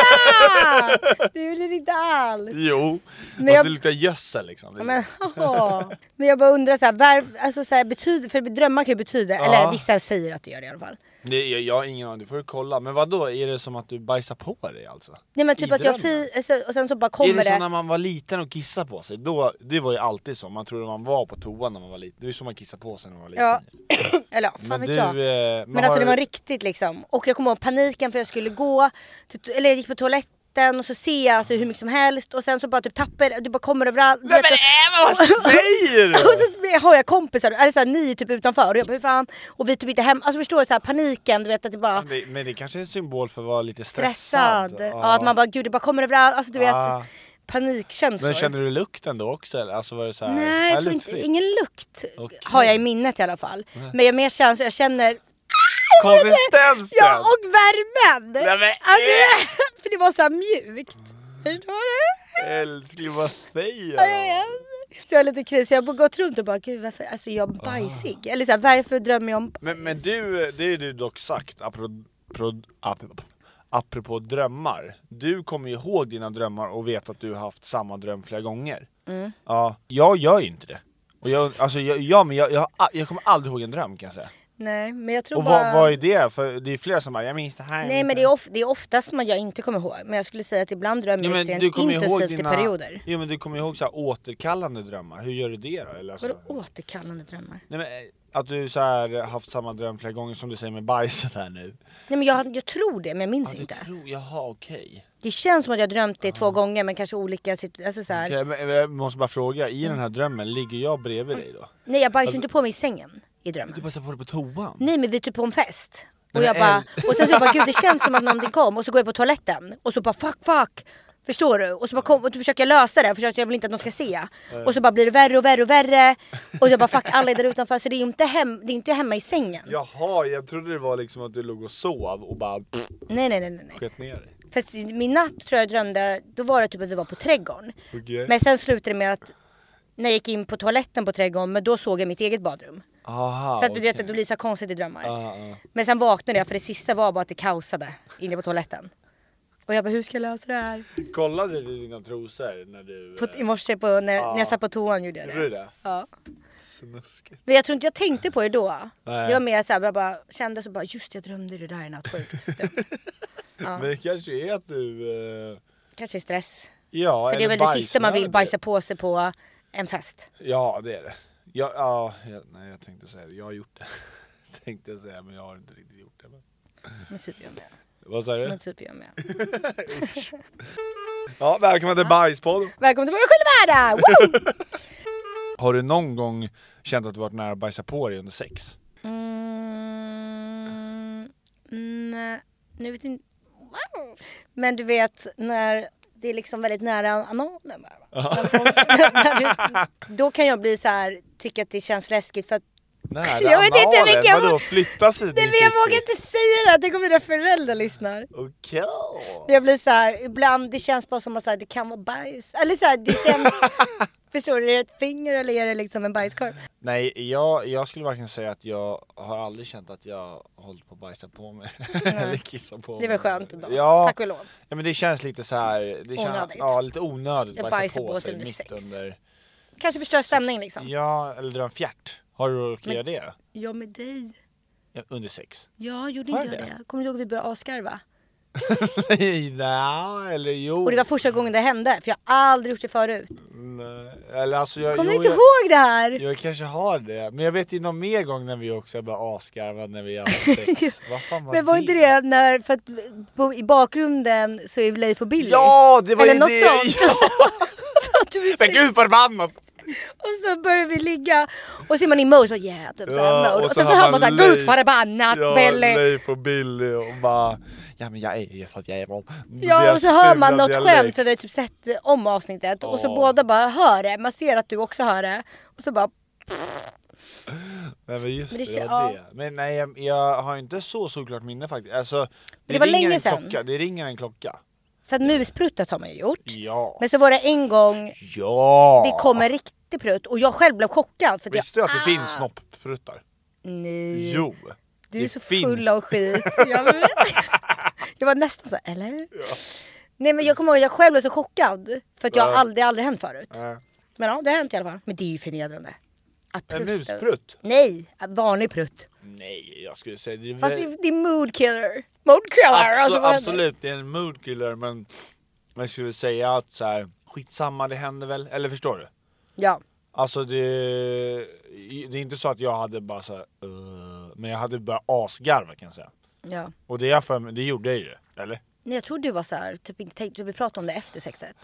sluta! du gjorde det inte alls. Jo, fast jag- det luktar gödsel liksom. Det- Men, åh. men jag bara undrar så här, var, alltså så här betyder, för drömmar kan ju betyda, eller vissa säger att det gör det i alla fall. Nej, jag, jag har ingen aning, du får ju kolla. Men vad då är det som att du bajsar på dig alltså? Nej men typ I att jag drömmen? fi, alltså, och sen så bara Är kommer det det. som när man var liten och kissade på sig? Då, det var ju alltid så, man trodde man var på toa när man var liten. Det är ju så man kissade på sig när man var liten. Ja. eller ja, fan Men vet du, jag. eh, men Men alltså har det var du- riktigt liksom. Och jag kommer ihåg paniken för jag skulle gå, typ, eller jag gick på toaletten och så ser jag alltså, hur mycket som helst och sen så bara typ tappar det, det bara kommer överallt. Nej Vet men du- äh, vad säger Och du? så blir- har jag kompisar, eller så här, ni är typ utanför och jag bara hur fan, och vi är typ inte hemma, alltså förstår du så här, paniken, du vet att det bara Men det- Men det kanske är en symbol för att vara lite stressad? stressad. Ja, att man bara gud det bara kommer överallt, alltså du vet Ah. panikkänslor. Men kände du lukten då också eller? Alltså var det så här, Nej, "Ah, jag tror inte, luktfritt"? ingen lukt Okej. har jag i minnet i alla fall. Men jag mer känner, jag känner Konsistensen! Ja, och värmen! Nej, men, Alltså, det- för det var så här mjukt. Förstår du? Älskling vad säger Ja, jag du? vet. Så jag har lite kris, så jag har gått runt och bara gud varför, alltså jag är bajsig. Eller så här, varför drömmer jag om bajs? Men, men du, det är du dock sagt apropå, apropå, apropå drömmar. Du kommer ju ihåg dina drömmar och vet att du har haft samma dröm flera gånger. Mm. Ja, jag gör ju inte det. Och jag, alltså, jag, ja, men jag, jag, har a- jag kommer aldrig ihåg en dröm kan jag säga. Nej, men jag tror Och bara... vad, vad är det? För det är flera som bara, jag minns det här. jag Nej minns men det är, of, det är oftast man jag inte kommer ihåg. Men jag skulle säga att ibland drömmer Jo, jag men du extremt kommer ihåg intensivt dina- i perioder. Jo men du kommer ihåg så här återkallande drömmar, hur gör du det då? Eller alltså, Vadå återkallande drömmar? nej, men, eh, att du så här haft samma dröm flera gånger som du säger med bajset här nu. Nej men jag, jag tror det men jag minns Ja, du inte. tror, jaha okej. Det känns som att jag drömt det två gånger men kanske olika situ- alltså så här. Okej, men Jag måste bara fråga, i den här drömmen, ligger jag bredvid dig då? Nej jag bajsade inte på mig i sängen i drömmen. Du bajsar Alltså- på dig på toan? Nej men vi är typ på en fest. Men Och jag en- bara, och sen så jag bara gud det känns som att någonting kom och så går jag på toaletten och så bara fuck fuck. Förstår du? Och så bara kom, och då försöker jag lösa det, försöker, jag vill inte att någon ska se. Och så bara blir det värre och värre och värre. Och jag bara fuck alla är där utanför så det är ju inte, hem, det är inte hemma i sängen. Jaha, jag trodde det var liksom att du låg och sov och bara pff, Nej nej nej nej. nej. sket ner dig. För att min natt tror jag jag drömde, då var det typ att vi var på trädgården. Okej. Men sen slutade det med att när jag gick in på toaletten på trädgården, men då såg jag mitt eget badrum. Aha, så att du vet Ah, okej. att det blir så här konstigt i drömmar. Ja, ja. Men sen vaknade jag för det sista var bara att det kaosade inne på toaletten. Och jag bara hur ska jag lösa det här? Kollade du dina trosor när du... eh, På, I morse på, när, när jag satt på toan gjorde jag Gjorde du det. det? Ja. Snuskigt. Men jag tror inte jag tänkte på det då. Nej. Det var mer såhär, jag bara kände så bara just jag drömde det där i natt, sjukt. Det Men det kanske är att du... eh, kanske är stress. Ja, För det är eller väl det sista man vill bajsnödig. bajsa på sig på en fest. Ja, det är det. Ja, ja, jag, nej, jag tänkte säga det. Jag har gjort det. tänkte jag säga, men jag har inte riktigt gjort det. Men... Men typ jag med. Vad sa du? Men typ jag med. Ja, välkomna till Bajspodden! Välkommen till våra skilvärda! Woo! Har du någon gång känt att du varit nära att bajsa på dig under sex? Mm, nej, nu vet inte. Wow. Men du vet när det är liksom väldigt nära analen där. va? När folk- när du- Då kan jag bli så här, tycka att det känns läskigt för att Nära Jag vet inte analen? vilken- Vadå, flytta sig Nej men jag vågar inte säga det här, tänk om mina föräldrar lyssnar. Okej! Jag blir så här, ibland det känns bara som att så här, det kan vara bajs. Eller så här, det känns... Förstår du, är det ett finger eller är det liksom en bajskorv? Nej, jag, jag skulle verkligen säga att jag har aldrig känt att jag hållit på att bajsa på mig. Eller kissa på Mm. mig. Det är väl skönt ändå. Ja. Tack och lov. Ja men det känns lite så här. Det känns, Onödigt. ja, lite onödigt Jag att bajsar bajsa på på sig sig under mitt sex. under. Kanske förstör stämning liksom. Ja, eller dra en fjärt. Har du råkat göra det? Ja, med dig. Ja, Under sex? Ja, gjorde Har inte jag det? det? Kommer du ihåg att vi började asgarva? Nej, nej, eller jo. Och det var första gången det hände, för jag har aldrig gjort det förut. Nej, Eller alltså jag, Kommer du jo, inte jag, ihåg det här? Jag kanske har det, men jag vet ju någon mer gång när vi också bara asgarvade när vi hade sex. Vad fan var Men var inte det när, för att på, i bakgrunden så är Leif och Billy? Ja, det var Eller ju något det! sånt. Ja. så att vi Men gud förbannat! Och så börjar vi ligga och så är man i mode, så bara, yeah, typ Ja, ja, mode. Och, och sen sen så har hör man man såhär Leif. gud förbannat Ja, Billy. Leif och Billy och bara Ja men jag är ju för att jag är om Ja och så hör man något skämt så vi har typ sett om avsnittet och så Ja. båda bara hör det, man ser att du också hör det. Och så bara Nej men just Men men det kän- det, det, var det. Men nej jag, jag har inte så såklart minne faktiskt. Alltså, det, det var ringer länge en sedan. Klocka. Det ringer en klocka. För att muspruttet har man ju gjort. Ja. Men så var det en gång ja! det kom en riktig prutt och jag själv blev chockad. För att Visste du jag, att det finns snoppruttar? Nej, Jo! du är det så finns. full av skit. Jag, vet. jag var nästan så här, eller? Nej men jag kommer ihåg att jag själv blev så chockad. För att jag aldrig, det har aldrig hänt förut. Nej. Men ja, det har hänt i alla fall. Men det är ju förnedrande. Att En prutta- musprutt? Nej, att vanlig prutt. Nej jag skulle säga det är Fast väl- det, det är mood killer. Mood killer! Abso- alltså, vad händer? absolut, det är en mood killer men jag skulle säga att så här, skitsamma det händer väl, eller förstår du? Ja. Alltså det, det är inte så att jag hade bara så här, "Ugh", men jag hade bara asgarva kan jag säga. ja. Och det, är jag för, mig- det gjorde jag ju, eller? Nej jag tror du var så här, typ inte tänkte, vi pratade om det efter sexet.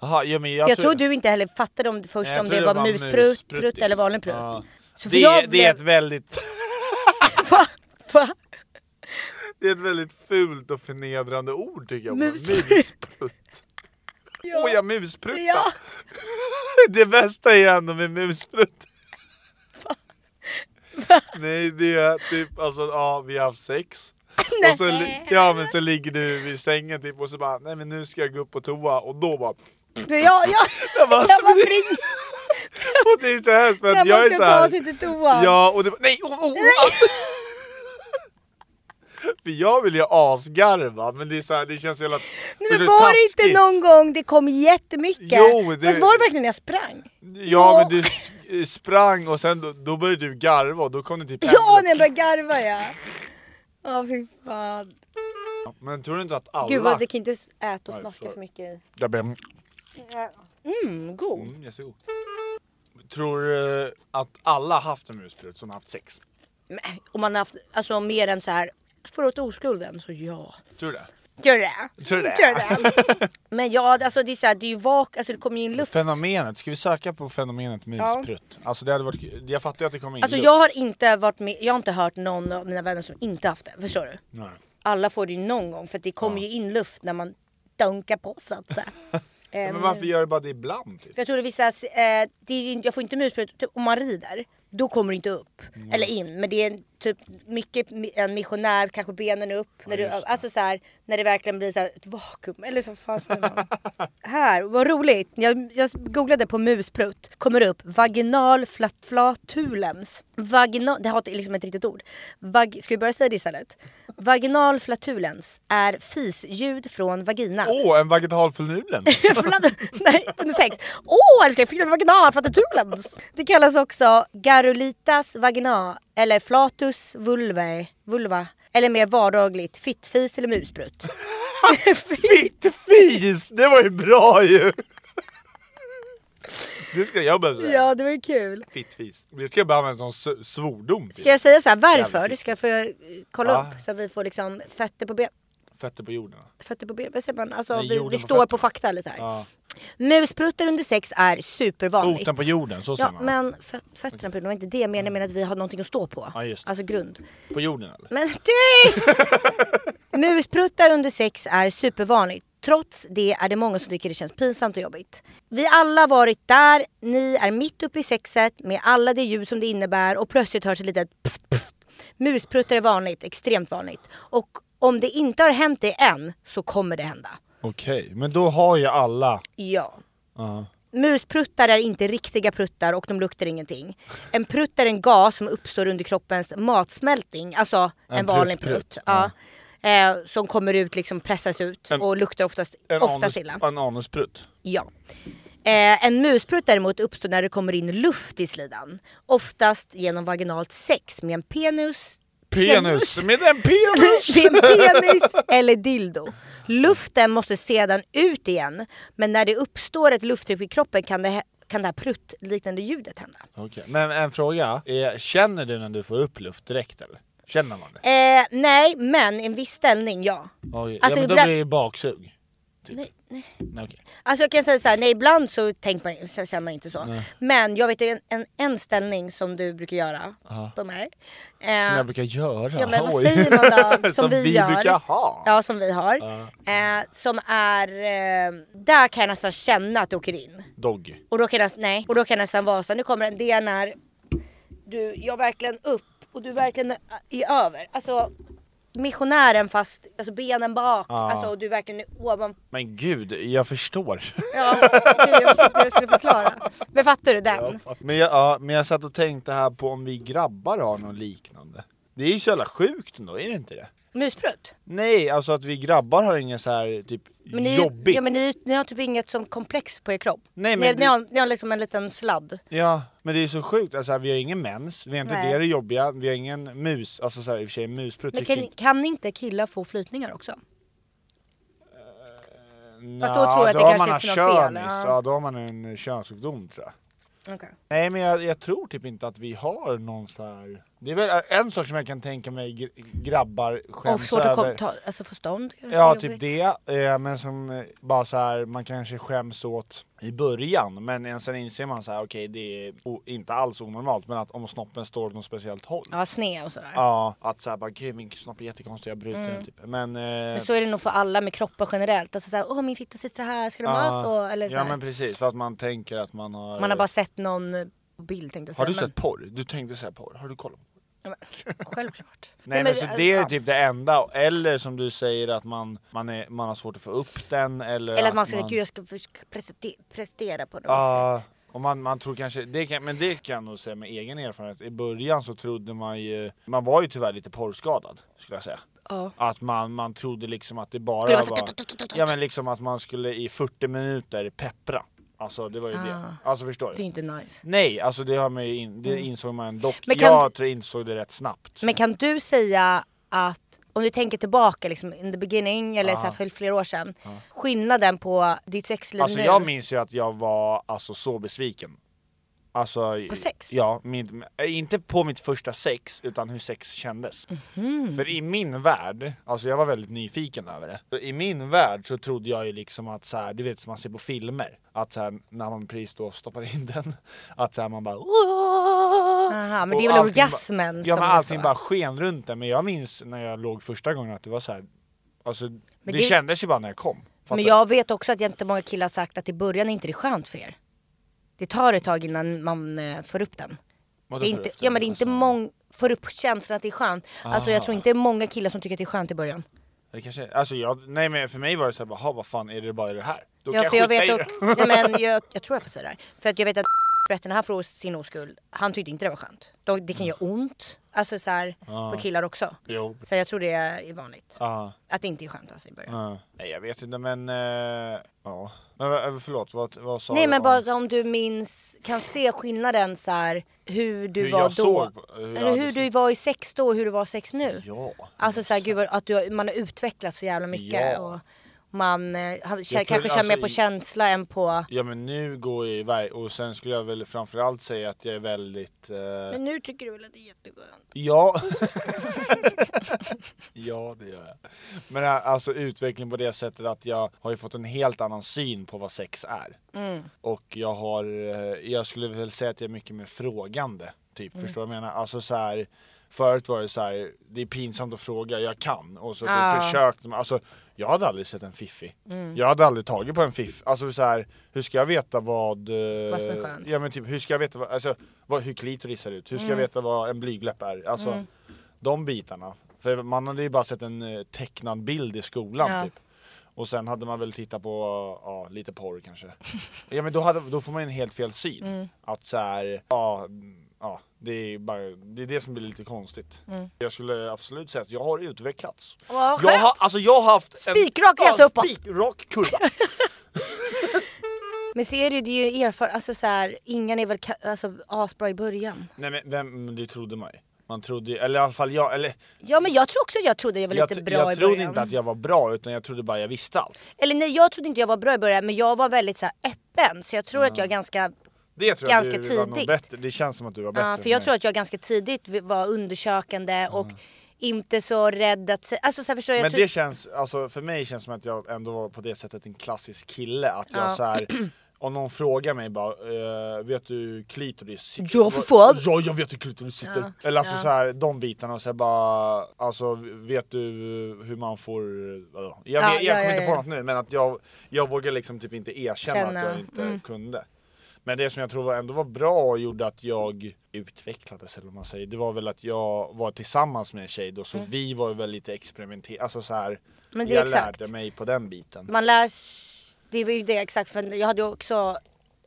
Jaha, ja, men För jag, jag tror du inte heller fattade om det först Nej, jag om tror det var, det var musprutt, prutt muspruttis. eller vanlig prutt. Ja. Så för det, jag är- det är ett blev- väldigt, Va? Va? det är ett väldigt fult och förnedrande ord tycker jag. Musprutt. Musprutt. Ja. Åh Oh, jag musprutta! Ja. Det bästa är ändå med musprutt. Nej det är typ alltså ja vi har haft sex. Och så, li- ja men så ligger du vid sängen typ och så bara nej men nu ska jag gå upp på toa och då bara Du, jag, jag, jag Jag bara, var sorry. fri. och det är så hemskt för När att man jag är ska så ta här. sig till toan. Ja och det bara nej oh, oh, oh. För jag vill ju asgarva men det är så här, det känns så jävla Nej, det men är var det inte taskigt. någon gång det kom jättemycket? Jo, det- Fast var det verkligen när jag sprang? Ja men du s- eh, sprang och sen då, då började du garva och då kom det typ Ja, en- när jag började garva ja. Ja, fy fan. Men tror du inte att alla... Gud vad, vi kan inte äta och Nej, smaska förlåt. för mycket i. Jag ber Mm, god. Mm, jättegod. Tror du eh, att alla haft en musprutt som haft sex? Men, om man har haft, alltså mer än så här, spår åt oskulden så ja. Tror du det? Gör det. Tror du det? Gör det. Men ja, alltså det är så här, det är ju vak, alltså det kommer ju in luft. Fenomenet, ska vi söka på fenomenet musprutt? Alltså det hade varit kul. Jag fattar ju att det kommer in Alltså luft. jag har inte varit med, jag har inte hört någon av mina vänner som inte haft det, förstår du? Nej. Alla får det ju någon gång för att det kommer ju in luft när man dunkar på så att säga. Ehm, Men varför gör du bara det ibland? Typ? För jag tror det är vissa, eh, det är, ju inte- jag får inte musprutor, typ, om man rider, då kommer det inte upp. Eller in, men det är en- typ mycket mi- en missionär, kanske benen upp. när du, alltså så här, när det verkligen blir så här, ett vakuum. Eller så vad fan säger man? här, vad roligt. Jag, jag googlade på musprutt, kommer det upp vaginal flat, flatulens. Vaginal, det har ett- liksom ett riktigt ord. Vag, ska vi börja säga det istället? Vaginal flatulens är fisljud från vagina. Åh, en vaginal förnudel! Förlåt, nej, under sex. Åh älskling, fick du en vaginal flatulens? Det kallas också garolitas vagina eller flatus vulvae, vulva. Eller mer vardagligt fittfis eller musprutt. Fis! Det var ju bra ju! Det ska jag börja säga. Ja det var ju kul. Fittfis. Det ska jag bara använda som s- svordom. Typ. Ska jag säga så här varför? Du Jävligt fint. ska få eh, kolla Ja. upp så att vi får liksom fötter på ben. Fötter på jorden. Fötter på ben, vad säger man? Alltså Nej, vi, jorden vi på står på fötterna. fakta lite här. Ja. Muspruttar under sex är supervanligt. Foten på jorden, så säger Ja man. men fö- fötterna på jorden, det var inte det jag menade, jag menar att vi har någonting att stå på. Ja, just det. Alltså grund. På jorden eller? Men tyst! Muspruttar under sex är supervanligt. Trots det är det många som tycker det känns pinsamt och jobbigt. Vi alla varit där, ni är mitt uppe i sexet med alla det ljud som det innebär och plötsligt hörs ett litet pft, pft. Muspruttar är vanligt, extremt vanligt. Och om det inte har hänt dig än så kommer det hända. Okej, men då har ju alla... Ja. Muspruttar är inte riktiga pruttar och de luktar ingenting. En prutt är en gas som uppstår under kroppens matsmältning, alltså en, En vanlig prutt. prutt, Ja. Eh, som kommer ut, liksom pressas ut En- och luktar oftast, En, oftast anus, illa. en anusprutt. Ja. Eh, en musprutt däremot uppstår när det kommer in luft i slidan. Oftast genom vaginalt sex med en penis, Penis! Med en penis! din penis eller dildo. Luften måste sedan ut igen, men när det uppstår ett lufttryck i kroppen kan det, kan det här pruttliknande ljudet hända. Okej, Men en fråga, är, känner du när du får upp luft direkt eller? Känner man det? Eh, nej, men i en viss ställning, ja. Oj, Alltså, ja men då ibland- blir det ju baksug. Typ. Nej, nej. Okej. Alltså jag kan säga så här, nej ibland så, tänker man, så känner man inte så. Men jag vet ju en, en, en ställning som du brukar göra på mig. Eh, Som jag brukar göra. Ja men vad Oj. säger man då? Som, Som vi, vi gör. brukar ha. Ja som vi har. Eh, som är, eh, där kan jag nästan känna att det åker in. Dogg. Och då kan jag, nästan- nej, och då kan jag nästan vara så här, nu kommer den, det är när du, jag verkligen upp och du verkligen är- är över. Alltså missionären fast, alltså benen bak, alltså och du verkligen är ovan. Men gud, jag förstår. Ja, okej, jag visste inte hur jag skulle förklara. Men fattar du den? men, jag, ja, men jag satt och tänkte här på om vi grabbar har något liknande. Det är ju så jävla sjukt ändå, är det inte det? Musprutt? Nej, alltså att vi grabbar har inget så här typ Men ni, jobbigt. Ja men ni, ni har typ inget som komplex på er kropp. Nej, ni, men ni, det- har, ni har liksom en liten sladd. Ja, men det är så sjukt. Alltså, vi har ingen mens, vi har inte Nej. det, det jobbiga, vi har ingen mus, alltså så här, i och för sig musprutt. Men tycker kan, jag- kan inte killar få flytningar också? Nja, fast då tror jag att det då har kanske man är för något fel, könis, ja. ja då har man en eh, könssjukdom tror jag. Okay. Nej men jag, jag tror typ inte att vi har någon så här... Det är väl en sak som jag kan tänka mig gr- grabbar Och skäms svårt att kom, över. ta, alltså få stånd kanske Ja, är typ jobbigt. det. Eh, men som eh, bara så här, man kanske skäms åt i början. Men en- sen inser man så här, okej det är o- inte alls onormalt. Men att om snoppen står åt något speciellt håll. Ja, Ja, sned och sådär. att såhär bara, gud min snopp är jättekonstig, jag bryter den typ. Men... Eh, Mm. Men så är det nog för alla med kroppar generellt. Alltså såhär, åh min fitta sitter så här, ska den vara så? Eller så ja här. men precis, för att man tänker att man har... Man har bara sett någon eh, bild tänkte jag har du säga, sett porr? Du tänkte säga porr, har du kollat? men, ja, men, Självklart. Nej men, så det är ja. typ det enda, eller som du säger att man, man, är, man har svårt att få upp den eller... Eller att man ska, gud jag ska försöka preste- prestera på något eh, Ja, sätt. och man, man tror kanske, det kan, men det kan jag nog säga med egen erfarenhet, i början så trodde man ju, man var ju tyvärr lite porrskadad skulle jag säga. Att man, man trodde liksom att det bara Det var så- var, ja men liksom att man skulle i 40 minuter peppra. Alltså det var ju Ah. det. Alltså förstår Det är du? inte nice. Nej, alltså det, har man ju in, det insåg man dock. Mm. Men kan- jag tror jag insåg det rätt snabbt. Men kan du säga att om du tänker tillbaka liksom in the beginning eller så här, för flera år sedan. Skillnaden på ditt sexliv Alltså nu. jag minns ju att jag var alltså så besviken. Alltså, På sex? Ja, min, eh, inte på mitt första sex, utan hur sex kändes. Mhm. För i min värld, alltså jag var väldigt nyfiken över det. Så I min värld så trodde jag ju liksom att så här, du vet som man ser på filmer, att så här, när man precis då stoppar in den, att så här, man bara Aha, Aha, men det är väl orgasmen Ja som men är allting så. bara sken runt den, men jag minns när jag låg första gången att det var så här, alltså det, det- kändes ju bara när jag kom. Men Fattar jag vet också att jättemånga killar har sagt att i början är inte det skönt för er. Det tar ett tag innan man eh, får upp den. Vadå Det är får inte, upp den? ja men det är inte Alltså- många får upp känslan att det är skönt. Alltså jag tror inte det är många killar som tycker att det är skönt i början. Det kanske, alltså jag, nej men för mig var det såhär, jaha vad fan är det bara det här? Då Ja, för jag vet skita i och, nej, men jag, jag tror jag får säga det här. För att jag vet att berättade här för sin oskuld, han tyckte inte det var skönt. De, det kan göra ont, alltså så här, på killar också. det. Mm. Jo. Så jag tror det är vanligt. Ja. Att det inte är skönt alltså i början. ja. Nej jag vet inte men, eh, ja. Men vad- förlåt, vad, vad sa Nej du men om- bara så om du minns, kan se skillnaden så här, hur du Hur var jag då. såg på- hur jag eller hur hade du var i sex då och hur du var i sex nu. Ja. Alltså så här, gud, vad- att du, har- man har utvecklats så jävla mycket. Ja. Och man eh, har- kä- tror- kanske känner alltså, mer på i- känsla än på... Ja men nu går jag iväg och sen skulle jag väl framförallt säga att jag är väldigt, eh, Men nu tycker du väl att det är jätteskönt? ja. ja det gör jag. Men eh, alltså utveckling på det sättet att jag har ju fått en helt annan syn på vad sex är. Mm. Och jag har, eh, jag skulle väl säga att jag är mycket mer frågande. Typ, Mm. förstår du vad jag menar? Alltså så här, förut var det så här, det är pinsamt att fråga, jag kan. Och så Ja. Mm. ah. försökte man, alltså jag hade aldrig sett en fiffi. Jag hade aldrig tagit på en fiff. Alltså så här, hur ska jag veta vad... eh, Vad som är skönt. Ja men typ, hur ska jag veta vad, alltså, vad, hur klitoris ser ut? Hur ska Mm. jag veta vad en blygläpp är? Alltså de bitarna. För man hade ju bara sett en eh, tecknad bild i skolan Ja. typ. Och sen hade man väl tittat på, ja, lite porr kanske. Ja men då, hade, då får man en helt fel syn. Mm. Att så här, ja, mm, ja det, är bara, det är det som blir lite konstigt. Jag skulle absolut säga att jag har utvecklats. Mm. Vad jag har, skönt. alltså jag har haft Spikrak resa uppåt. spikrak kurva. Men så är det ju, det är ju erfar... Alltså så här, ingen är väl ka- alltså, asbra i början. Nej men vem, men det trodde man ju. Man trodde ju, eller i alla fall jag, eller Ja men jag tror också att jag trodde jag var jag, lite tr- bra jag i trodde början. inte att jag var bra utan jag trodde bara jag visste allt. Eller nej jag trodde inte jag var bra i början men jag var väldigt så här, öppen. Så jag tror att jag ganska Det tror Ganska jag att du var nog tidigt. bättre, det känns som att du var bättre Ja, för än jag mig. Mm. tror att jag ganska tidigt vi- var undersökande och inte så rädd att säga... Alltså så här, förstår jag, jag Men tror... det känns, alltså för mig känns det som att jag ändå var på det sättet en klassisk kille, att jag så här. Om någon frågar mig bara, eh, vet du hur klitoris sitter? Ja, för fan. Ja, jag vet hur klitoris sitter! Eller alltså så här, de bitarna och så här bara, alltså vet du hur man får... ja. Jag, Ja, vet, jag ja, kommer ja, inte ja. på något nu, men att jag, jag vågar liksom typ inte erkänna att Känna, Mm. jag inte kunde. Men det som jag tror var- ändå var bra och gjorde att jag utvecklades eller vad man säger, det var väl att jag var tillsammans med en tjej då, så vi var väl lite experimenterande, alltså så här, Mm. Men det är jag exakt. lärde mig på den biten. Man lär s- Det var ju det exakt. För jag hade ju också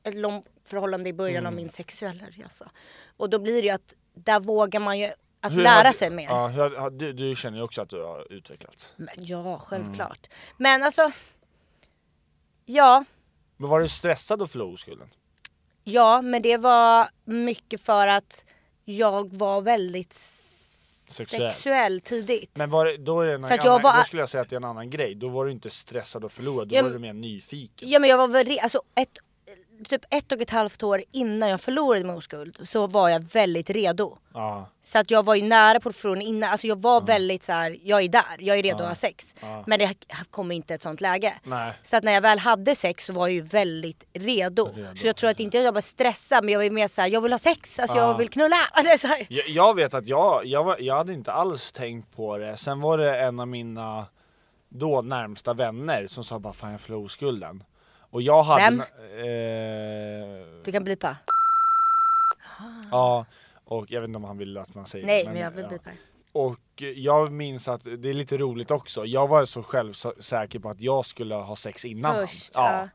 ett långt förhållande i början Mm. av min sexuella resa. Och då blir det ju att där vågar man ju att Hur lära har du- sig mer. Ja, hur, har- har- du, du känner ju också att du har utvecklats. Men, Mm. ja, självklart. Men alltså... Ja, Men var du stressad att förlora oskulden? ja, men det var mycket för att jag var väldigt Sexuell. sexuell tidigt. Men var, det- då, är det en Så att annan, jag var- då skulle jag säga att det är en annan grej, då var du inte stressad att förlora, då Ja, var men- du mer nyfiken. Ja men jag var väl, re- alltså ett, typ ett och ett halvt år innan jag förlorade min oskuld så var jag väldigt redo. Ja. Så att jag var ju nära på förloringen innan, alltså jag var väldigt så här, jag är där, jag är redo att ha sex. Men det kom inte ett sånt läge. Nej. Så att när jag väl hade sex så var jag ju väldigt redo. Så jag tror att inte jag var stressad men jag var ju mer såhär, jag vill ha sex, alltså jag vill knulla. Alltså, så här. Jag, jag vet att jag, jag, var, jag hade inte alls tänkt på det. Sen var det en av mina då närmsta vänner som sa bara fan jag förlorade oskulden. Och jag hade... Vem? Eh, Du kan blipa. ja, och jag vet inte om han ville att man säger Nej det, men jag vill ja. blipa. Och jag minns att, det är lite roligt också, jag var så självsäker på att jag skulle ha sex innan Först. han. Ja.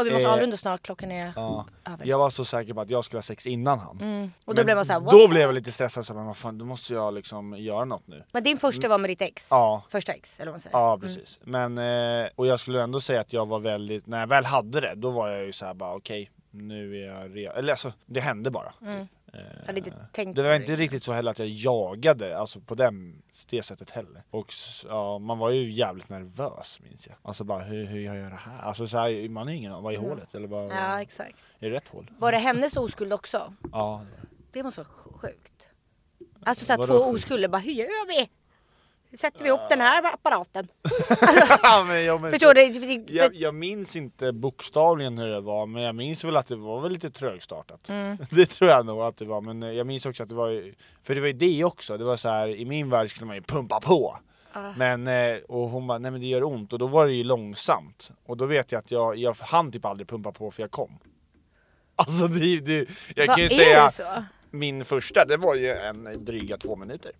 Och vi måste Eh, avrunda snart, klockan är Ja. över. Jag var så säker på att jag skulle ha sex innan han. Mm. Och då Men blev man såhär, what? Då blev jag lite stressad, så här, men vad fan, då måste jag liksom göra något nu. Men din första var med ditt ex? Mm. Ja. Första ex eller vad man säger? Ja precis, men eh, och jag skulle ändå säga att jag var väldigt, när jag väl hade det då var jag ju såhär bara okej nu är jag redo, eller alltså det hände bara. Mm. Typ. Jag hade inte tänkt Det på var inte riktigt så heller att jag jagade, alltså på den, det sättet heller. Och s- ja, man var ju jävligt nervös minns jag. Alltså bara hur, hur gör jag det här? Alltså så här, man har ingen aning, vad är hålet? Eller vad, Ja exakt. är det rätt hål? Var det hennes oskuld också? Ja, det var det. Det måste vara sj- sjukt. Alltså såhär Vadå två sjukt? oskulder bara, hur gör vi? Sätter vi ihop den här apparaten? Ja, men, ja, men, Förstår så- du? För, för, Jag, jag minns inte bokstavligen hur det var, men jag minns väl att det var väl lite trögstartat. Mm. Det tror jag nog att det var, men eh, jag minns också att det var ju- För det var ju det också, det var så här i min värld skulle man ju pumpa på. Ah. Men, eh, och hon bara, nej men det gör ont, och då var det ju långsamt. Och då vet jag att jag, jag hann typ aldrig pumpa på för jag kom. Alltså det, det vad jag kan ju är säga, det så? min första, det var ju en dryga två minuter.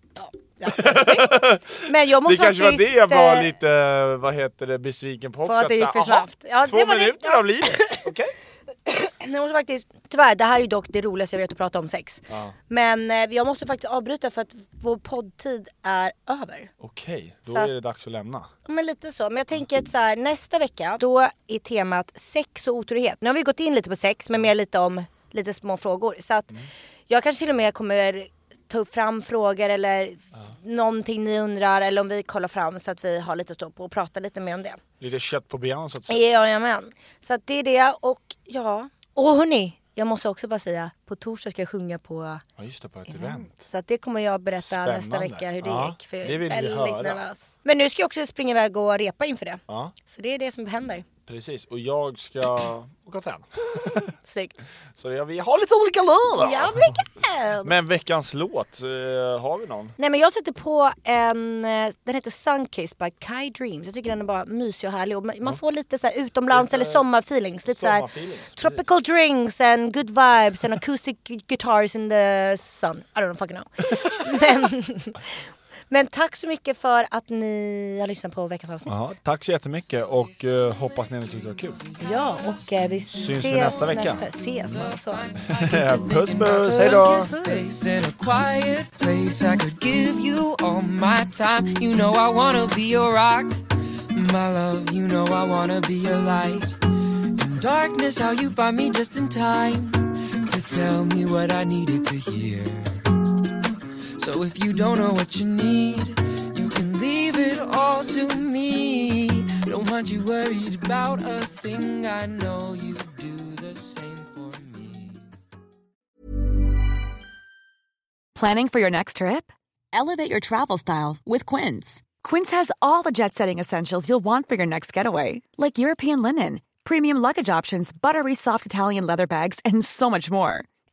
Ja, snyggt. Men jag Det måste kanske var faktiskt... det jag var eh, lite, vad heter det, besviken på också. att det gick så för här, aha, snabbt. Ja, det två var det- minuter ja. av livet, okej. Jag måste faktiskt... Tyvärr, det här är ju dock det roligaste jag vet att prata om sex. Men eh, jag måste faktiskt avbryta för att vår poddtid är över. Okej, då Så är att- det dags att lämna. Ja, Men lite så. Men jag tänker att så här, nästa vecka, då är temat sex och otrohet. Nu har vi gått in lite på sex, men mer lite om lite små frågor. Så att jag kanske till och med kommer ta upp fram frågor eller någonting ni undrar eller om vi kollar fram så att vi har lite att stå på och prata lite mer om det. Lite kött på benen så att säga. Jajamän. Så att det är det och ja. Och hörni, jag måste också bara säga, på torsdag ska jag sjunga på Ja just det, på ett event. så att det kommer jag berätta nästa Spännande. vecka hur det Ja, gick. För jag det är vill vi väldigt höra. nervös. Men nu ska jag också springa iväg och repa inför det. Ja, Så det är det som händer. precis. Och jag ska åka och träna. Snyggt. Så jag, vi har lite olika liv! Ja, men Men veckans låt, eh, har vi någon? Nej men jag sätter på en, eh, den heter Sunkiss by Kai Dreams. Jag tycker den är bara mysig och härlig. Och man man får lite så här utomlands eller sommarfeelings. Lite så här sommarfeelings, precis. tropical drinks and good vibes and acoustic gu- guitars in the sun. I don't fucking know. men, Men tack så mycket för att ni har lyssnat på veckans avsnitt. Jaha, tack så jättemycket och eh, hoppas ni tyckte det var kul. Ja, och eh, vi Syns ses vi nästa vecka? ses, man, så. puss puss, hejdå! place in a quiet place. I could give you all my time. You know I wanna be your rock, my love. You know I wanna be your light. In darkness, how you find me just in time to tell me what I needed to hear. So if you don't know what you need, you can leave it all to me. Don't want you worried about a thing. I know you do the same for me. Planning for your next trip? Elevate your travel style with Quince. Quince has all the jet setting essentials you'll want for your next getaway, like European linen, premium luggage options, buttery soft Italian leather bags, and so much more.